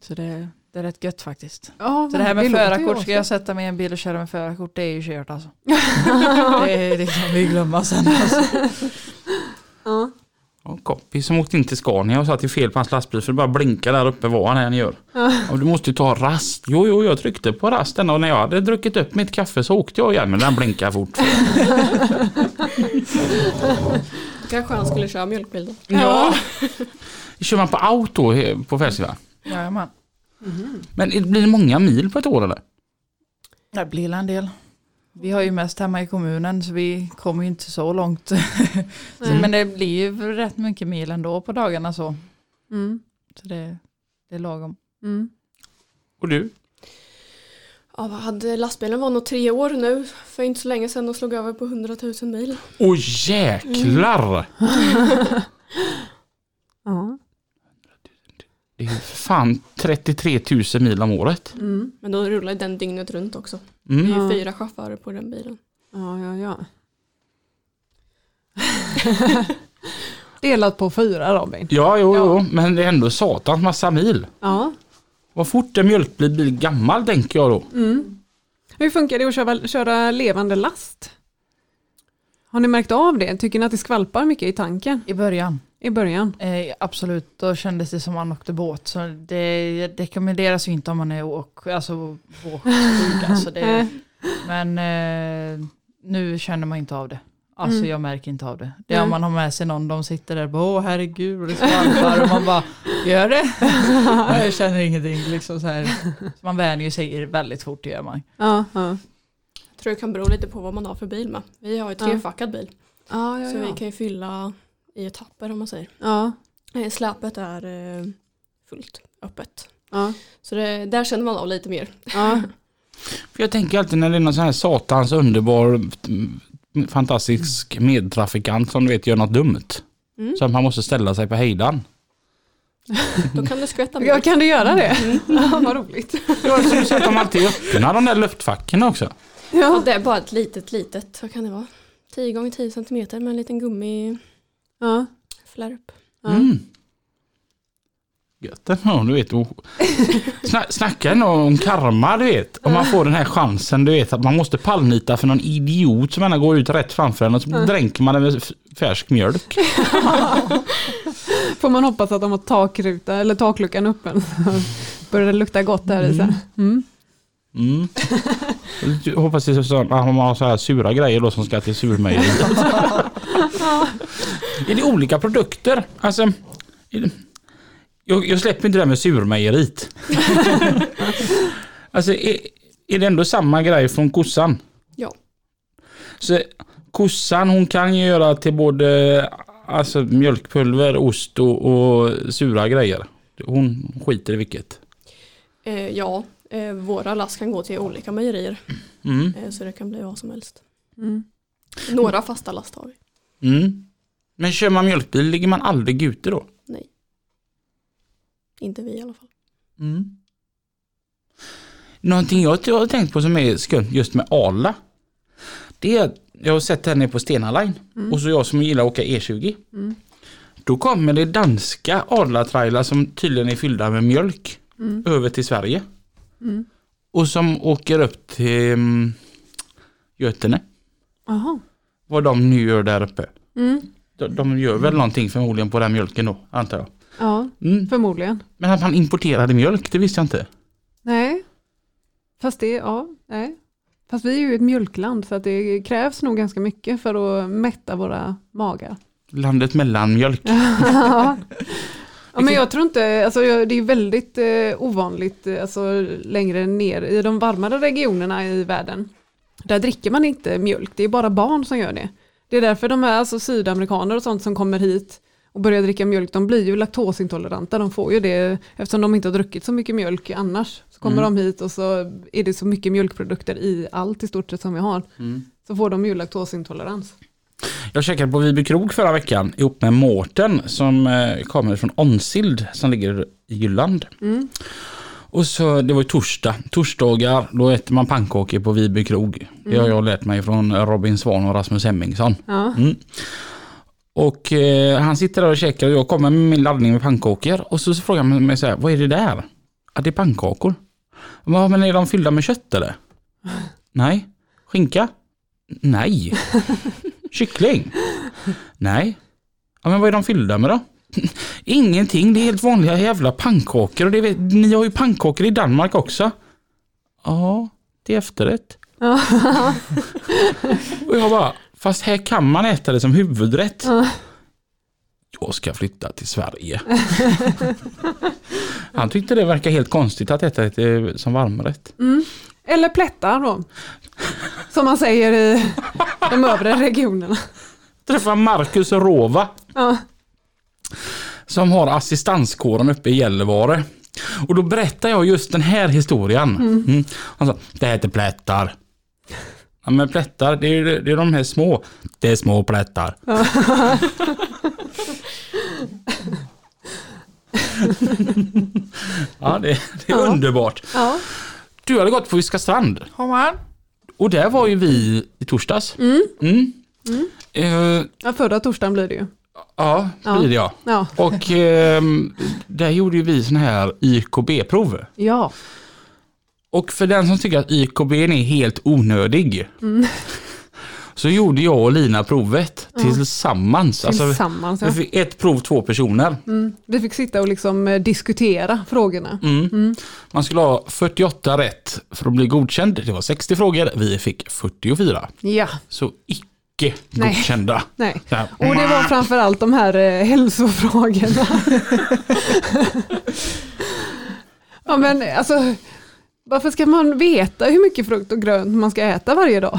S7: Så det, det är rätt gött faktiskt.
S2: ja
S7: Så det här med
S2: låter ju
S7: förarkort,
S2: också.
S7: ska jag sätta mig i en bil och köra med förarkort, det är ju kört alltså. det, är- det kan vi glömma sen. Alltså.
S2: Ja.
S3: Och en kompis som åkte in till Scania och satt i fel på hans lastbil för det bara blinkar där uppe vad han än gör. Och du måste ju ta rast. Jo, jo, jag tryckte på rasten och när jag hade druckit upp mitt kaffe så åkte jag igen men den blinkar fort.
S8: Kanske han skulle köra mjölkbil då.
S3: Ja. Kör man på auto he- på festival?
S7: Jajamän.
S3: Men det blir det många mil på ett år eller?
S7: Det blir en del. Vi har ju mest hemma i kommunen så vi kommer ju inte så långt. så, men det blir ju rätt mycket mil ändå på dagarna så.
S2: Mm.
S7: Så det, det är lagom.
S2: Mm.
S3: Och du?
S8: Ja, vad hade lastbilen var nog tre år nu för inte så länge sedan och slog över på 100 000 mil.
S3: Åh jäklar!
S2: Ja.
S3: Det är ju för fan 33 000 mil om året.
S2: Mm.
S8: Men då rullar den dygnet runt också.
S3: Mm.
S8: Det är ju
S2: Ja.
S8: fyra chaufförer på den bilen.
S2: ja, ja, ja. Delat på fyra Robin.
S3: Ja, jo,
S2: Ja.
S3: jo, men det är ändå satans massa mil.
S2: Ja.
S3: Vad fort en mjölkbil blir gammal tänker jag
S2: Mm.
S3: då.
S2: Hur funkar det att köra, köra levande last? Har ni märkt av det? Tycker ni att det skvalpar mycket i tanken
S7: I början.
S2: i början?
S7: Eh, absolut, då kändes det som man åkte båt. Så det rekommenderas ju inte om man är åk, alltså, åksjuk. Alltså det, men eh, nu känner man inte av det. Alltså jag märker inte av det. Det är om
S2: Nej.
S7: man har med sig någon, de sitter där och bara åh herregud och det skvalpar och man bara Gör det? jag känner ingenting. Liksom så här. Så man vänjer sig väldigt fort, det gör man.
S2: Ja, ja.
S8: Jag tror det kan bero lite på vad man har för bil med. Vi har ju
S2: Ja.
S8: trefackad bil.
S2: Ja, ja,
S8: Så vi
S2: ja.
S8: kan ju fylla i etapper om man säger.
S2: ja,
S8: Eh, Släpet är eh, fullt öppet.
S2: ja,
S8: Så det, där känner man av lite mer.
S2: ja.
S3: För jag tänker alltid när det är någon sån här satans underbar mm, fantastisk medtrafikant som du vet gör något dumt.
S8: Mm.
S3: Så att man måste ställa sig på hejdan.
S8: Då kan det skvätta
S2: ja.
S8: mer.
S2: Kan du göra det? Ja, vad roligt.
S3: Ja, så- så att de alltid öppnar de där luftfacken också.
S8: Och
S2: Ja,
S8: det är bara ett litet, litet, vad kan det vara? 10 gånger 10 centimeter med en liten gummiflärp.
S2: ja. Ja.
S3: Mm. Gött ändå, du vet. och- Sna- Snacka ändå om karma, du vet. Om man får den här chansen, du vet, att man måste pallnita för någon idiot som gärna går ut rätt framför en och så dränker man den med f- färsk mjölk.
S2: Får man hoppas att de har takruta eller takluckan öppen. Börjar det lukta gott där i sen. Mm.
S3: Mm. Jag hoppas det är så att man har så här sura grejer då som ska till surmejeriet. är det olika produkter? Alltså, är det... jag, jag släpper inte det här med surmejeriet. alltså, är, är det ändå samma grej från kossan?
S8: Ja.
S3: Så kossan hon kan ju göra till både alltså, mjölkpulver, ost och, och sura grejer. Hon skiter i vilket.
S8: Eh, ja, eh, våra lass kan gå till olika mejerier.
S3: Mm.
S8: Eh, så det kan bli vad som helst.
S2: Mm.
S8: Några fasta last har vi.
S3: Mm. Men kör man mjölkbil ligger man aldrig ute då?
S8: Inte vi i alla fall.
S3: Mm. Någonting jag jag har tänkt på som är skumt just med Arla. Det är att jag har sett henne på Stena Line och så jag som gillar att åka E20.
S2: Mm.
S3: Då kommer det danska Arla-trailar som tydligen är fyllda med mjölk
S2: Mm.
S3: över till Sverige.
S2: Mm.
S3: Och som åker upp till mm, Götene.
S2: Aha.
S3: Vad de nu gör där uppe.
S2: Mm.
S3: De, de gör väl någonting förmodligen på den mjölken då, antar jag.
S2: Ja,
S3: Mm.
S2: förmodligen.
S3: Men att man importerade mjölk, det visste jag inte.
S2: Nej, fast det, ja, nej. Fast vi är ju ett mjölkland så att det krävs nog ganska mycket för att mätta våra magar.
S3: Landet mellan mjölk.
S2: ja, men jag tror inte, alltså, jag- det är väldigt eh, ovanligt eh, alltså, längre ner i de varmare regionerna i världen. Där dricker man inte mjölk, det är bara barn som gör det. Det är därför de här alltså, sydamerikaner och sånt som kommer hit och börjar dricka mjölk, de blir ju laktosintoleranta, de får ju det eftersom de inte har druckit så mycket mjölk annars. Så kommer de hit och så är det så mycket mjölkprodukter i allt i stort sett som vi har. Så får de ju laktosintolerans.
S3: Jag käkade på Viby krog förra veckan ihop med Mårten som eh, kommer från Onsild som ligger i Jylland. Och så, det var ju torsdag. Torsdagar då äter man pannkakor på Viby krog. Det har jag lärt mig från Robin Svan och Rasmus Hemmingsson.
S2: Ja.
S3: Mm. Och eh, han sitter där och käkar och jag kommer med min laddning med pannkakor och så, så frågar han mig så här, vad är det där? Ja, det är pannkakor. Ja, men är de fyllda med kött eller? Nej. Skinka? Nej. Kyckling? Nej. Ja, men vad är de fyllda med då? Ingenting, det är helt vanliga jävla pannkakor och det vet, ni har ju pannkakor i Danmark också. Ja, det är efterrätt. och jag bara, fast här kan man äta det som huvudrätt. Jag ska flytta till Sverige. Han tyckte det verkar helt konstigt att äta det som varmrätt.
S2: Eller plättar då. Som man säger i de övre regionerna.
S3: Träffa Marcus Rova
S2: Ja.
S3: som har assistanskåren uppe i Gällivare. Och då berättar jag just den här historien. Mm. Han sa, det heter plättar. Ja men plättar, det är, ju- det är de här små. Det är små plättar. ja det, det är underbart.
S2: Ja.
S3: Du hade gått på Viska strand.
S7: Har man?
S3: Och där var ju vi i torsdags. Mm. Eh,
S2: ja, förra torsdagen blir det ju.
S3: ja, det
S2: Ja.
S3: blir det ja.
S2: Ja.
S3: Och ehm, där gjorde ju vi sån här YKB-prov.
S2: Ja.
S3: Och för den som tycker att YKB är helt onödig
S2: Mm.
S3: så gjorde jag och Lina provet tillsammans. Alltså,
S2: Tillsammans.
S3: vi
S2: Ja.
S3: fick ett prov två personer.
S2: Mm. Vi fick sitta och liksom eh, diskutera frågorna.
S3: Mm. Man skulle ha 48 rätt för att bli godkänd. Det var 60 frågor, vi fick 44.
S2: Ja.
S3: Så icke icke
S2: Nej.
S3: godkända.
S2: Nej.
S3: Så här,
S2: Och det var framförallt de här eh, hälsofrågorna. ja men alltså, varför ska man veta hur mycket frukt och grönt man ska äta varje dag?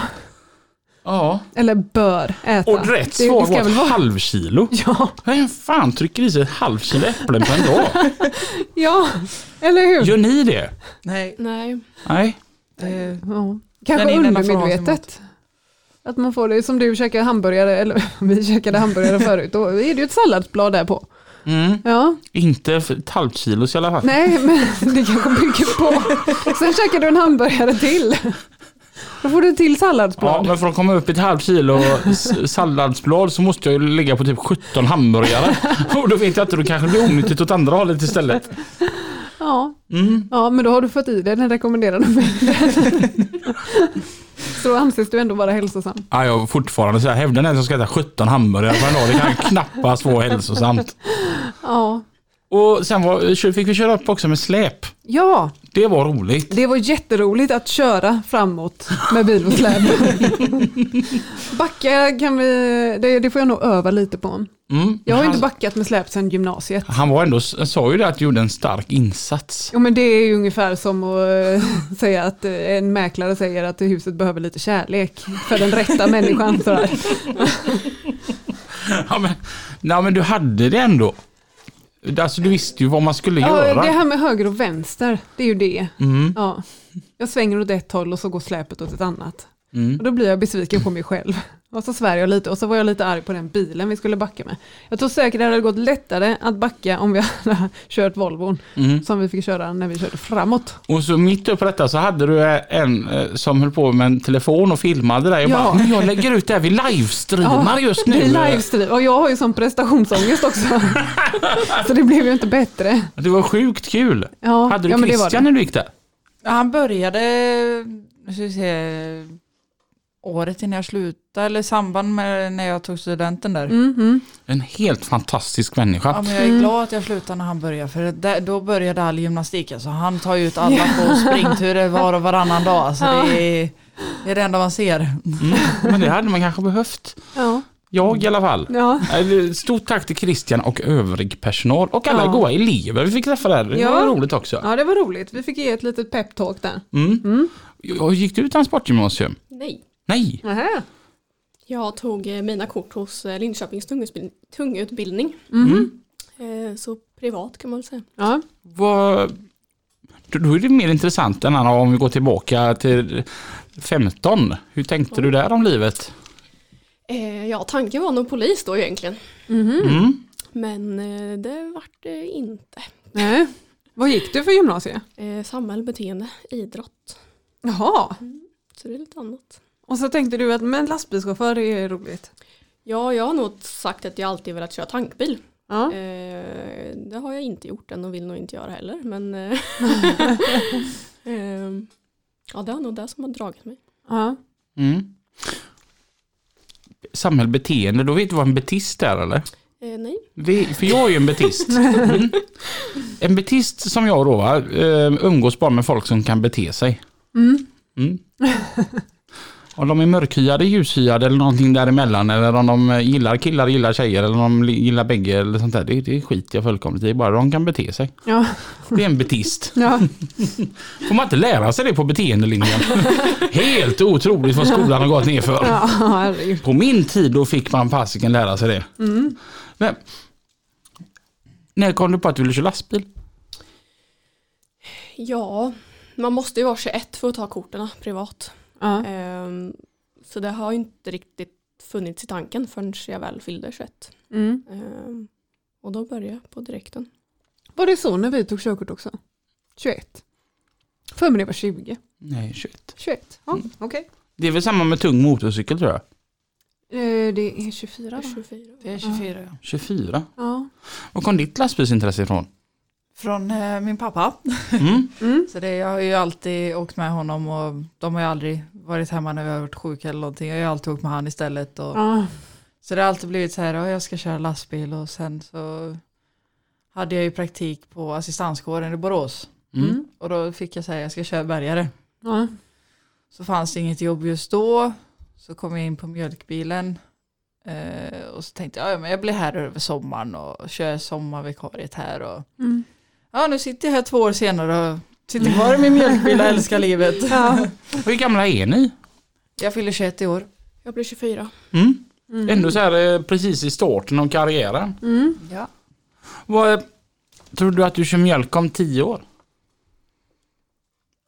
S3: Ja.
S2: Eller bör äta.
S3: Och rätt
S2: Det- det
S3: svar
S2: ska
S3: var ett
S2: väl vara-
S3: halvkilo.
S2: Ja,
S3: Vem fan trycker i sig ett halvkilo äpplen på en dag?
S2: ja, eller hur?
S3: Gör ni det?
S7: Nej.
S8: Nej.
S3: Nej.
S7: Det,
S2: Ja.
S7: Den
S2: Kanske
S7: är den där frasen
S2: undermedvetet. Att man får det som du käkar hamburgare, eller vi käkade hamburgare förut, då är det ju ett salladsblad där på.
S3: Mm.
S2: Ja,
S3: Inte för ett halvkilos i alla fall.
S2: nej men det kanske bygger på. Sen käkar du en hamburgare till. Då får du ett till salladsblad.
S3: Ja, men för att komma upp i ett halvt kilo s- salladsblad så måste jag ju ligga på typ 17 hamburgare. Och då vet jag inte, då kanske det blir onyttigt åt andra hållet istället. Mm.
S2: Ja. ja, men då har du fått i dig den rekommenderade mängden. Så då anses du ändå vara hälsosam.
S3: Ja, jag fortfarande så här, hävdar den som ska äta 17 hamburgare på en dag, det kan ju knappast vara hälsosamt.
S2: Ja.
S3: Och sen var, fick vi köra upp också med släp.
S2: ja,
S3: Det var roligt.
S2: det var jätteroligt att köra framåt med bil och släp. Backa kan vi, det, det får jag nog öva lite på.
S3: Mm.
S2: Jag har ju inte
S3: han,
S2: backat med släp sedan gymnasiet.
S3: han var ändå, sa ju det att du gjorde en stark insats.
S2: Jo men det är ju ungefär som att eh, säga att eh, en mäklare säger att huset behöver lite kärlek för den rätta människan. Sådär.
S3: Ja, men, nej, men du hade det ändå. Alltså du visste ju vad man skulle
S2: Ja,
S3: göra.
S2: det här med höger och vänster, det är ju det.
S3: Mm.
S2: Ja. Jag svänger åt ett håll och så går släpet åt ett annat.
S3: Mm.
S2: Och då blir jag besviken på mig själv. Och så svär jag lite och så var jag lite arg på den bilen vi skulle backa med. Jag tror säkert det hade gått lättare att backa om vi hade kört Volvon
S3: Mm.
S2: som vi fick köra när vi körde framåt.
S3: Och så mitt uppe på detta så hade du en eh, som höll på med en telefon och filmade dig. Jag
S2: Ja.
S3: bara, "Men jag lägger ut det här, vi livestreamar just nu.
S2: Vi livestream. Och jag har ju sån prestationsångest också. så det blev ju inte bättre.
S3: Det var sjukt kul.
S2: Ja,
S3: hade du
S2: ja, men det var
S3: Christian
S2: det.
S3: när du gick där?
S7: han började, nu ska vi se, året innan jag slutade, eller i samband med när jag tog studenten där.
S2: Mhm.
S3: En helt fantastisk människa.
S7: Ja, men jag är glad att jag slutade när han började, för där, då började all gymnastik. Alltså, han tar ju ut alla på springturer var och varannan dag. Alltså, det, är, det är det enda man ser.
S3: Mm. Men det hade man kanske behövt.
S2: Ja.
S3: Jag i alla fall.
S2: Ja.
S3: Eh, Stort tack till Christian och övrig personal och alla
S2: Ja.
S3: goa elever vi fick träffa där. Det
S2: Ja.
S3: var roligt också.
S2: ja, det var roligt. Vi fick ge ett litet peptalk där.
S3: Mm. Och Gick du ut transportgymnasium?
S8: Nej.
S3: Nej.
S2: Nähä.
S8: Jag tog eh, mina kort hos eh, Linköpings tungutbildning. tungutbildning. Eh, Så privat kan man väl säga.
S2: Ja.
S3: Vad, då- då är det mer intressant än om vi går tillbaka till 15. Hur tänkte du där om livet?
S8: Eh, Ja, tanken var nog polis då egentligen.
S3: Mm.
S8: Men eh, det vart det inte.
S2: Nej. Vad gick du för gymnasie?
S8: Eh, Samhälle, beteende, idrott.
S2: Jaha,
S8: Så det är lite annat.
S2: och så tänkte du att men lastbilschaufför är roligt.
S8: Ja, jag har nog sagt att jag alltid velat köra tankbil.
S2: Ja.
S8: Eh, det har jag inte gjort än och vill nog inte göra heller. Men eh, ehm, ja, det är nog det som har dragit mig.
S2: Ja.
S3: Mm. Samhällsbeteende, då vet du vad en betist är eller?
S8: Eh, nej,
S3: Vi, för jag är ju en betist. Mm. En betist som jag då va, eh, umgås bara med folk som kan bete sig.
S2: Mm.
S3: Mm. Om de är mörkhyade, ljushyade eller någonting däremellan eller om de gillar killar, gillar tjejer eller om de gillar bägge eller sånt där. Det, det skiter jag fullkomligt i, bara de kan bete sig.
S2: Ja.
S3: Det är en betist.
S2: Ja.
S3: Får man inte lära sig det på beteendelinjen? Helt otroligt vad skolan har gått ner för.
S2: ja, herregud.
S3: På min tid då fick man fasiken lära sig det. Men, när kom du på att du ville köra lastbil?
S8: ja, man måste ju vara 21 för att ta korten privat.
S2: Ja.
S8: Ehm, så det har ju inte riktigt funnits i tanken förrän jag väl fyllde 21.
S2: Mm.
S8: Ehm, och då började jag på direkten.
S2: Var det så när vi tog körkort också? 21? För mig det var Mm. 20.
S3: Nej, 21.
S2: 21, ja, okej.
S3: Det är väl samma med tung motorcykel tror jag.
S2: Eh, Det är 24 va?
S8: 24.
S7: Det är 24 ja.
S3: 24.
S2: Ja.
S3: Var kom ditt lastbilsintresse ifrån?
S7: Från eh, min pappa.
S3: Mm.
S7: Så det, jag har ju alltid åkt med honom och de har ju aldrig varit hemma när vi har varit sjuka eller någonting. Jag har ju alltid åkt med han istället. Och,
S2: Ja.
S7: Så det har alltid blivit så här, "Ja, jag ska köra lastbil och sen så hade jag ju praktik på assistanskåren i Borås.
S3: Mm.
S7: Och då fick jag säga jag ska köra bärgare.
S2: Ja.
S7: Så fanns det inget jobb just då. Så kom jag in på mjölkbilen. Eh, och så tänkte jag, ja, men jag blir här över sommaren och kör sommarvikariet här. Och,
S2: Mm.
S7: ja, nu sitter jag här två år senare och sitter kvar i min mjölkbil och älskar livet.
S2: Ja.
S3: Hur gamla är ni?
S7: Jag fyller 21 i år.
S8: Jag blir 24.
S3: Mm. Ändå så här eh, precis i starten av karriären.
S2: Mm.
S7: Ja.
S3: Vad, tror du att du kör mjölk om tio år?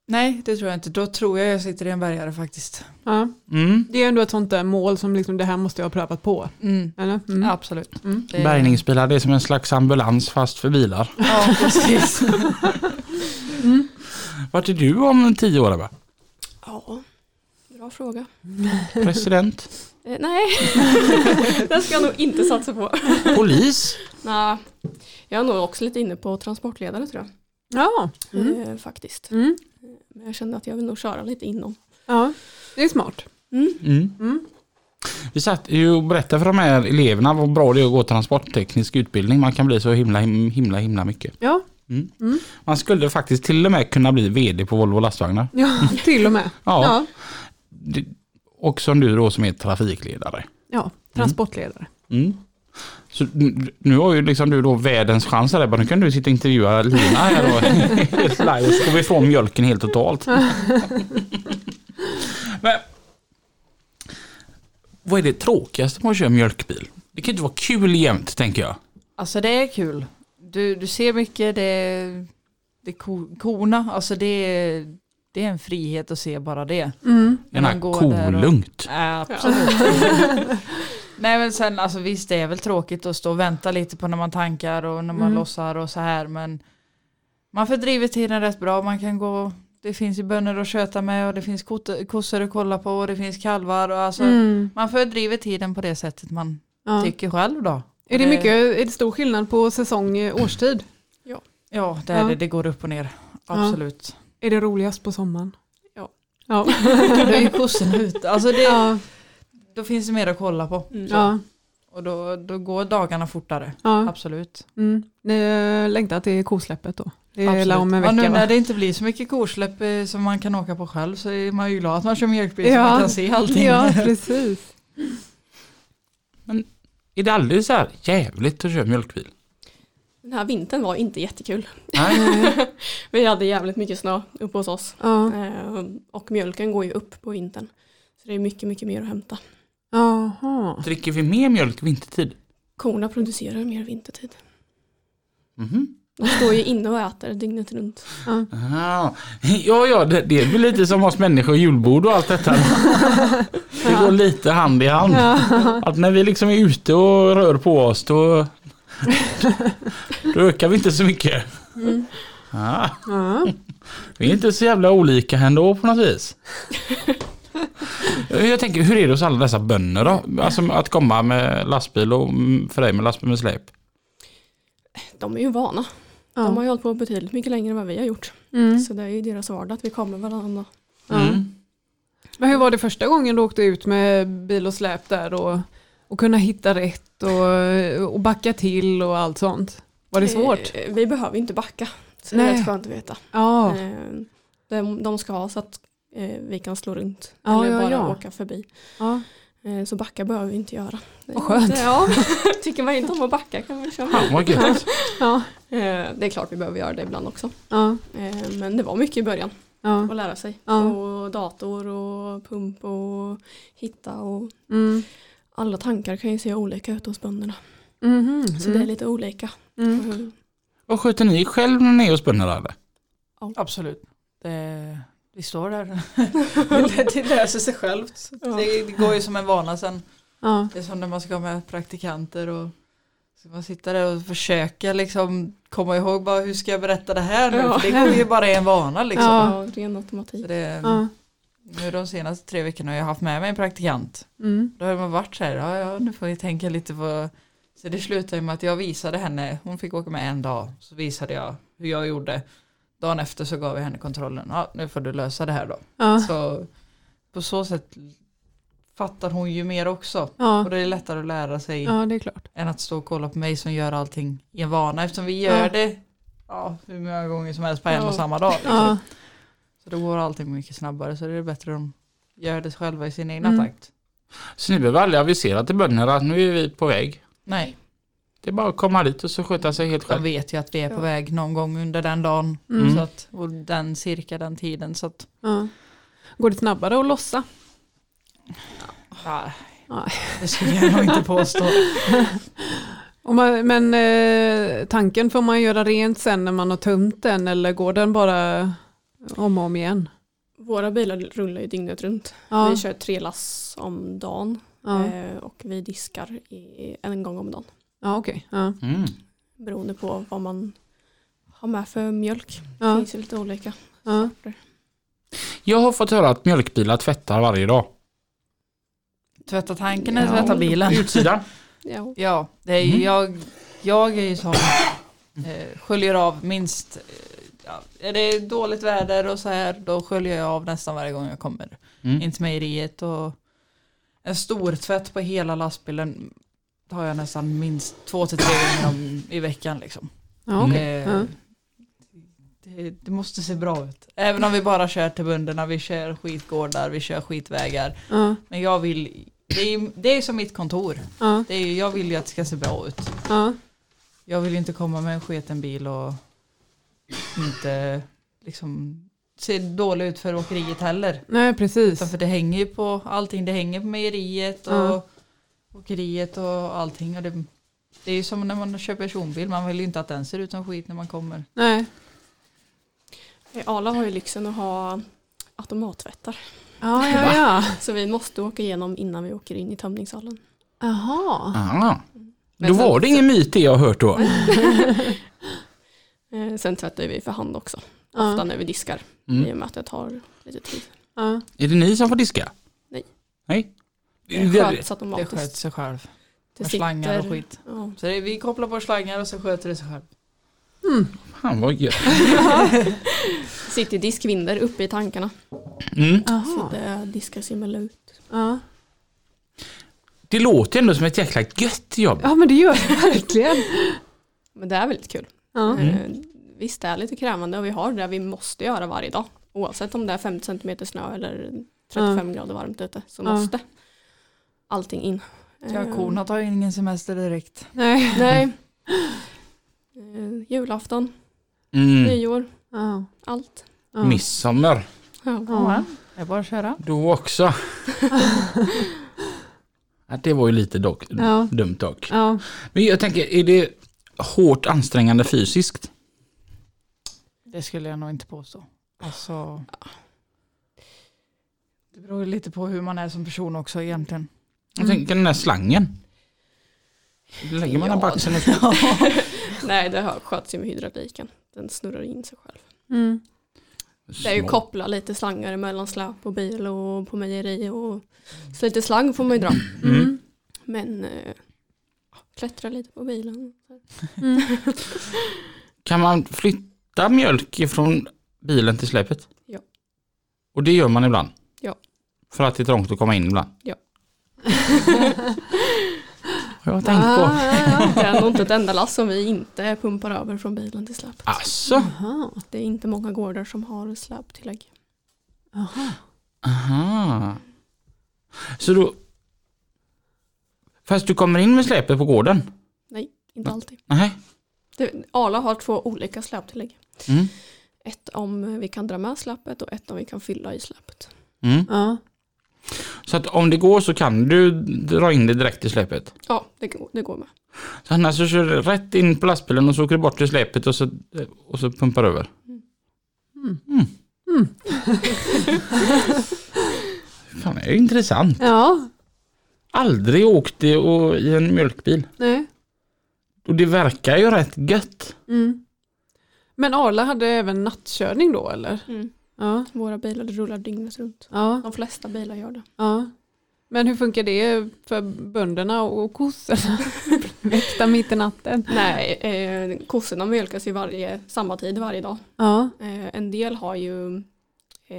S7: Nej, det tror jag inte. Då tror jag jag sitter i en bärgare faktiskt.
S2: Ja.
S3: Mm.
S2: Det är ändå ett sånt där mål som liksom, det här måste jag ha prövat på.
S7: Mm.
S2: Eller? Mm.
S7: Absolut.
S2: Mm.
S7: Det-
S3: Bärgningsbilar, det är som en slags ambulans fast för bilar.
S7: Ja, precis.
S3: Vart är du om tio år Ebba?
S8: Ja, bra fråga.
S3: President?
S8: Eh, nej, den ska jag nog inte satsa på.
S3: Polis?
S8: Nej, jag är nog också lite inne på transportledare tror jag.
S2: Ja. Mm.
S8: Eh, faktiskt.
S2: Mm.
S8: Men jag kände att jag vill nog köra lite inom.
S2: ja, det är smart.
S3: Mm.
S2: Mm.
S3: Vi satt ju och berättade för de här eleverna vad bra det är att gå transportteknisk utbildning. Man kan bli så himla, him- himla, himla mycket.
S2: Ja,
S3: Man skulle faktiskt till och med kunna bli vd på Volvo lastvagnar.
S2: ja till och med.
S3: Ja.
S2: Ja,
S3: Det- Och som du då som är trafikledare.
S2: ja. transportledare.
S3: Mm. Så n- nu har ju liksom du då världens chans här Ebba. Nu kan du sitta och intervjua Lina här då. Helt live. Så får vi ifrån mjölken helt totalt. Men, vad är det tråkigaste med att köra mjölkbil? Det kan inte vara kul jämt tänker jag.
S7: Alltså det är kul. Du, du ser mycket, det är, det är ko, korna, alltså det är, det är en frihet att se bara det.
S2: Mm.
S7: När
S3: Den här
S7: man går där och-
S3: kolugnt.
S7: Ja, absolut. Nej men sen alltså visst det är väl tråkigt att stå och vänta lite på när man tankar och när man
S2: Mm.
S7: lossar och så här men man fördriver tiden rätt bra, man kan gå det finns ju bönder att köta med och det finns kot- kossor att kolla på och det finns kalvar och alltså
S2: Mm.
S7: man fördriver tiden på det sättet man
S2: Ja.
S7: tycker själv då.
S2: Är det mycket, är det stor skillnad på säsong eh, årstid?
S7: Ja, det, är
S2: Ja.
S7: Det, det går upp och ner.
S2: Ja.
S7: Absolut.
S2: Är det roligast på sommaren?
S8: Ja.
S2: Ja.
S7: Då är ju kossorna ute. Alltså det,
S2: ja.
S7: Då finns det mer att kolla på.
S2: ja.
S7: Och då, då går dagarna fortare.
S2: ja.
S7: Absolut.
S2: Mm. Ni eh, längtar till kosläppet då? Det är
S7: Absolut.
S2: la om en vecka
S7: ja, nu när
S2: va?
S7: det inte blir så mycket korsläpp eh, som man kan åka på själv så är man ju glad att man kör mjölkbil
S2: Ja.
S7: så man kan se allting.
S2: Ja, precis.
S3: Är det aldrig så här jävligt att köra mjölkbil?
S8: Den här vintern var inte jättekul.
S3: Nej.
S8: Vi hade jävligt mycket snö uppe hos oss.
S2: Ja.
S8: Eh, och mjölken går ju upp på vintern. Så det är mycket, mycket mer att hämta.
S2: Jaha.
S3: Dricker vi mer mjölk vintertid?
S8: Korna producerar mer vintertid.
S3: Mhm.
S8: De står ju inne och äter dygnet runt.
S3: Ah. Ja, ja, det, det är väl lite som oss människor och julbord och allt detta. Det går lite hand i hand. Att när vi liksom är ute och rör på oss då, då ökar vi inte så mycket. Ah,
S2: Ja.
S3: vi är inte så jävla olika ändå på något vis. Jag tänker, hur är det hos alla dessa bönder då? Alltså att komma med lastbil och mm, för dig med lastbil med släp.
S8: De är ju vana. De har ju hållit på betydligt mycket längre än vad vi har gjort.
S2: Mm.
S8: Så det är ju deras vardag att vi kommer varannan dag.
S2: Ja.
S3: Mm.
S2: Men hur var det första gången du åkte ut med bil och släp där och, och kunna hitta rätt och, och backa till och allt sånt? Var det svårt?
S8: Eh, Vi behöver inte backa. Så det
S2: Nej.
S8: är rätt skönt att veta.
S2: Ja,
S8: Eh, De, de ska ha så att eh, vi kan slå runt.
S2: Ja,
S8: eller
S2: ja,
S8: bara
S2: ja.
S8: åka förbi.
S2: ja.
S8: Eh, Så backa behöver vi inte göra.
S2: Vad skönt.
S8: Ja, tycker man inte om att backa kan man köra.
S3: Fan vad gött.
S2: ja,
S8: Eh, Det är klart vi behöver göra det ibland också.
S2: ja,
S8: Eh, Men det var mycket i början
S2: ja.
S8: att lära sig.
S2: Ja.
S8: Och dator och pump och hitta och
S2: Mm.
S8: alla tankar kan ju se olika ut hos bönderna.
S2: Mhm,
S8: Så det är
S2: mm.
S8: lite olika.
S2: Mm.
S8: Eh,
S3: Vad sköter ni själv när ni är hos bönderna eller?
S7: Absolut. Det, vi står där. det, det löser sig självt. Det, det går ju som en vana sen.
S2: Ja,
S7: Det är som när man ska ha med praktikanter och så man sitter där och försöker liksom komma ihåg bara hur ska jag berätta det här nu?
S8: Ja.
S7: För det går ju bara i en vana liksom.
S2: Ja.
S8: Ja, ren automatik.
S7: Så det,
S2: ja.
S7: Nu de senaste tre veckorna har jag haft med mig en praktikant.
S2: Mm.
S7: Då har man varit så här, ja, ja nu får vi tänka lite på så det slutade med att jag visade henne, hon fick åka med en dag, så visade jag hur jag gjorde. Dagen efter så gav jag henne kontrollen, ja, nu får du lösa det här då.
S2: ja.
S7: Så på så sätt fattar hon ju mer också. Och
S2: ja.
S7: det är lättare att lära sig
S2: ja det är klart.
S7: än att stå och kolla på mig som gör allting i en vana eftersom vi gör
S2: Ja.
S7: det ja, hur många gånger som helst på en
S8: Ja.
S7: och samma dag. Liksom.
S2: Ja.
S7: Så då går allting mycket snabbare så det är bättre om de gör det själva i sin egna
S2: Mm.
S7: takt.
S3: Så ni behöver aldrig avisera till bönderna att nu är vi på väg.
S7: Nej,
S3: Det är bara att komma dit och så sköta sig helt
S7: de
S3: själv.
S7: vet ju att vi är på väg någon gång under den dagen.
S2: Mm.
S7: Så att, och den cirka den tiden. Så att,
S2: Ja. Går det snabbare att lossa?
S7: nej, det skulle jag nog inte påstå.
S2: Om man, men eh, tanken får man göra rent sen när man har tömt den eller går den bara om och om igen?
S8: Våra bilar rullar ju dygnet runt.
S2: Ja,
S8: Vi kör tre lass om dagen
S2: ja.
S8: eh, och vi diskar i, en gång om dagen.
S2: ja okej. Ja.
S3: Mm.
S8: Beroende på vad man har med för mjölk. Det
S2: Ja,
S8: finns ju lite olika.
S2: ja.
S3: Jag har fått höra att mjölkbilar tvättar varje dag.
S7: Tvätta tanken eller tvätta bilen?
S3: Utsidan.
S8: Ja.
S7: Ja, det är ju, jag, jag är ju sån. Eh, sköljer av minst. Eh, ja, är det dåligt väder och så här då sköljer jag av nästan varje gång jag kommer
S3: Mm.
S7: in till mejeriet. Och en stor tvätt på hela lastbilen har jag nästan minst två till tre gånger om, i veckan. Liksom.
S2: ja okej.
S7: Eh,
S2: Ja.
S7: det, det måste se bra ut. Även om vi bara kör till bönderna, vi kör skitgårdar, vi kör skitvägar.
S2: Ja,
S7: Men jag vill, det är ju det är ju som mitt kontor.
S2: ja,
S7: Det är ju, jag vill ju att det ska se bra ut.
S2: ja.
S7: Jag vill ju inte komma med en sketen bil och inte liksom se dålig ut för åkeriet heller.
S2: Nej, precis.
S7: Utan för det hänger ju på allting. Det hänger på mejeriet och
S2: Ja.
S7: åkeriet och allting. Och det, det är ju som när man köper personbil. Man vill ju inte att den ser ut som skit när man kommer.
S2: Nej.
S8: Eh, Arla har ju lyxen att ha automattvättar.
S2: Ja, ja, ja.
S8: Så vi måste åka igenom innan vi åker in i tömningshallen.
S2: Jaha.
S3: Ah. Då
S8: Men sen-
S3: var det ingen myt det jag har hört då.
S8: Eh, Sen tvättar vi för hand också. Ofta
S2: Ja,
S8: när vi diskar.
S3: Mm.
S8: I och med att det tar lite tid.
S2: ja.
S3: Är det ni som får diska?
S8: Nej.
S3: Nej?
S8: Det sköts
S7: Det
S8: automatiskt.
S7: sköter sig själv.
S8: Det
S7: Med slangar och
S8: sitter-
S7: skit.
S8: Ja.
S7: Så det, vi kopplar på slangar och så sköter det sig själv.
S3: Fan vad gött.
S8: Det sitter diskvinder uppe i tankarna.
S3: Mm.
S8: Så
S2: Jaha.
S8: det diskas emellan ut.
S2: Ja.
S3: Det låter ändå som ett jäkla gött jobb.
S2: ja, men det gör det verkligen.
S8: Men det är väldigt kul.
S2: Ja.
S8: Eh, Visst, det är lite krävande och vi har det vi måste göra varje dag. Oavsett om det är 50 centimeter snö eller 35 grader varmt ute så
S2: Ja.
S8: måste allting in.
S7: Ja,
S8: Eh,
S7: korna tar ju ingen semester direkt.
S2: Nej.
S8: Nej. Eh, julafton,
S3: Mm.
S8: nyår,
S2: Ja.
S8: allt.
S2: Ja.
S3: Midsommar,
S8: Ja.
S2: Ja.
S7: Det är bara att köra.
S3: då också. Ja, det var ju lite dock,
S2: Ja.
S3: dumt dock.
S2: Ja.
S3: Men jag tänker, är det hårt ansträngande fysiskt?
S7: Det skulle jag nog inte påstå. Alltså, det beror ju lite på hur man är som person också egentligen.
S3: Jag
S8: Mm.
S3: tänker den där slangen. Lägger man den på axeln och så.
S8: Nej, det har- sköts ju med hydrauliken. Den snurrar in sig själv.
S2: Mm.
S8: Det är ju
S3: Små.
S8: koppla lite slangar mellan släp och bil och på mejeri. Och... Så lite slang får man ju dra.
S2: Mm.
S8: Men eh, klättra lite på bilen.
S3: Kan man flytta mjölk ifrån bilen till släpet?
S8: Ja.
S3: Och det gör man ibland?
S8: Ja.
S3: För att det är trångt att komma in ibland?
S8: Ja.
S3: Har jag tänkt
S7: Ah,
S3: på.
S2: ja,
S8: Det är nog inte ett enda lass som vi inte pumpar över från bilen till släpet.
S3: Alltså.
S2: Jaha.
S8: Det är inte många gårdar som har släptillägg.
S2: Jaha.
S3: Aha. Så då... Fast du kommer in med släpet på gården?
S8: Inte alltid.
S3: Nej.
S8: Det, Arla har två olika släptillägg.
S3: Mm.
S8: Ett om vi kan dra med släpet och ett om vi kan fylla i släpet.
S3: Mm.
S2: Ja.
S3: Så att om det går så kan du dra in det direkt i släpet?
S8: Ja, det, går- det går med.
S3: Så annars så kör du rätt in på lastbilen och så åker du bort till släpet och så, och så pumpar du över.
S2: Mm.
S3: Mm. Fan, det är ju intressant.
S2: Ja.
S3: Aldrig åkt i, och, i en mjölkbil.
S2: Nej.
S3: Och det verkar ju rätt gött.
S2: Mm. Men Arla hade även nattkörning då eller?
S8: Mm.
S2: Ja.
S8: Våra bilar rullar dygnet runt.
S2: Ja.
S8: De flesta bilar gör det.
S2: Ja. Men hur funkar det för bönderna och kossorna? Väckta mitt i natten.
S8: Nej, eh, kossorna mjölkas ju varje, samma tid varje dag.
S2: Ja.
S8: Eh, en del har ju eh, vad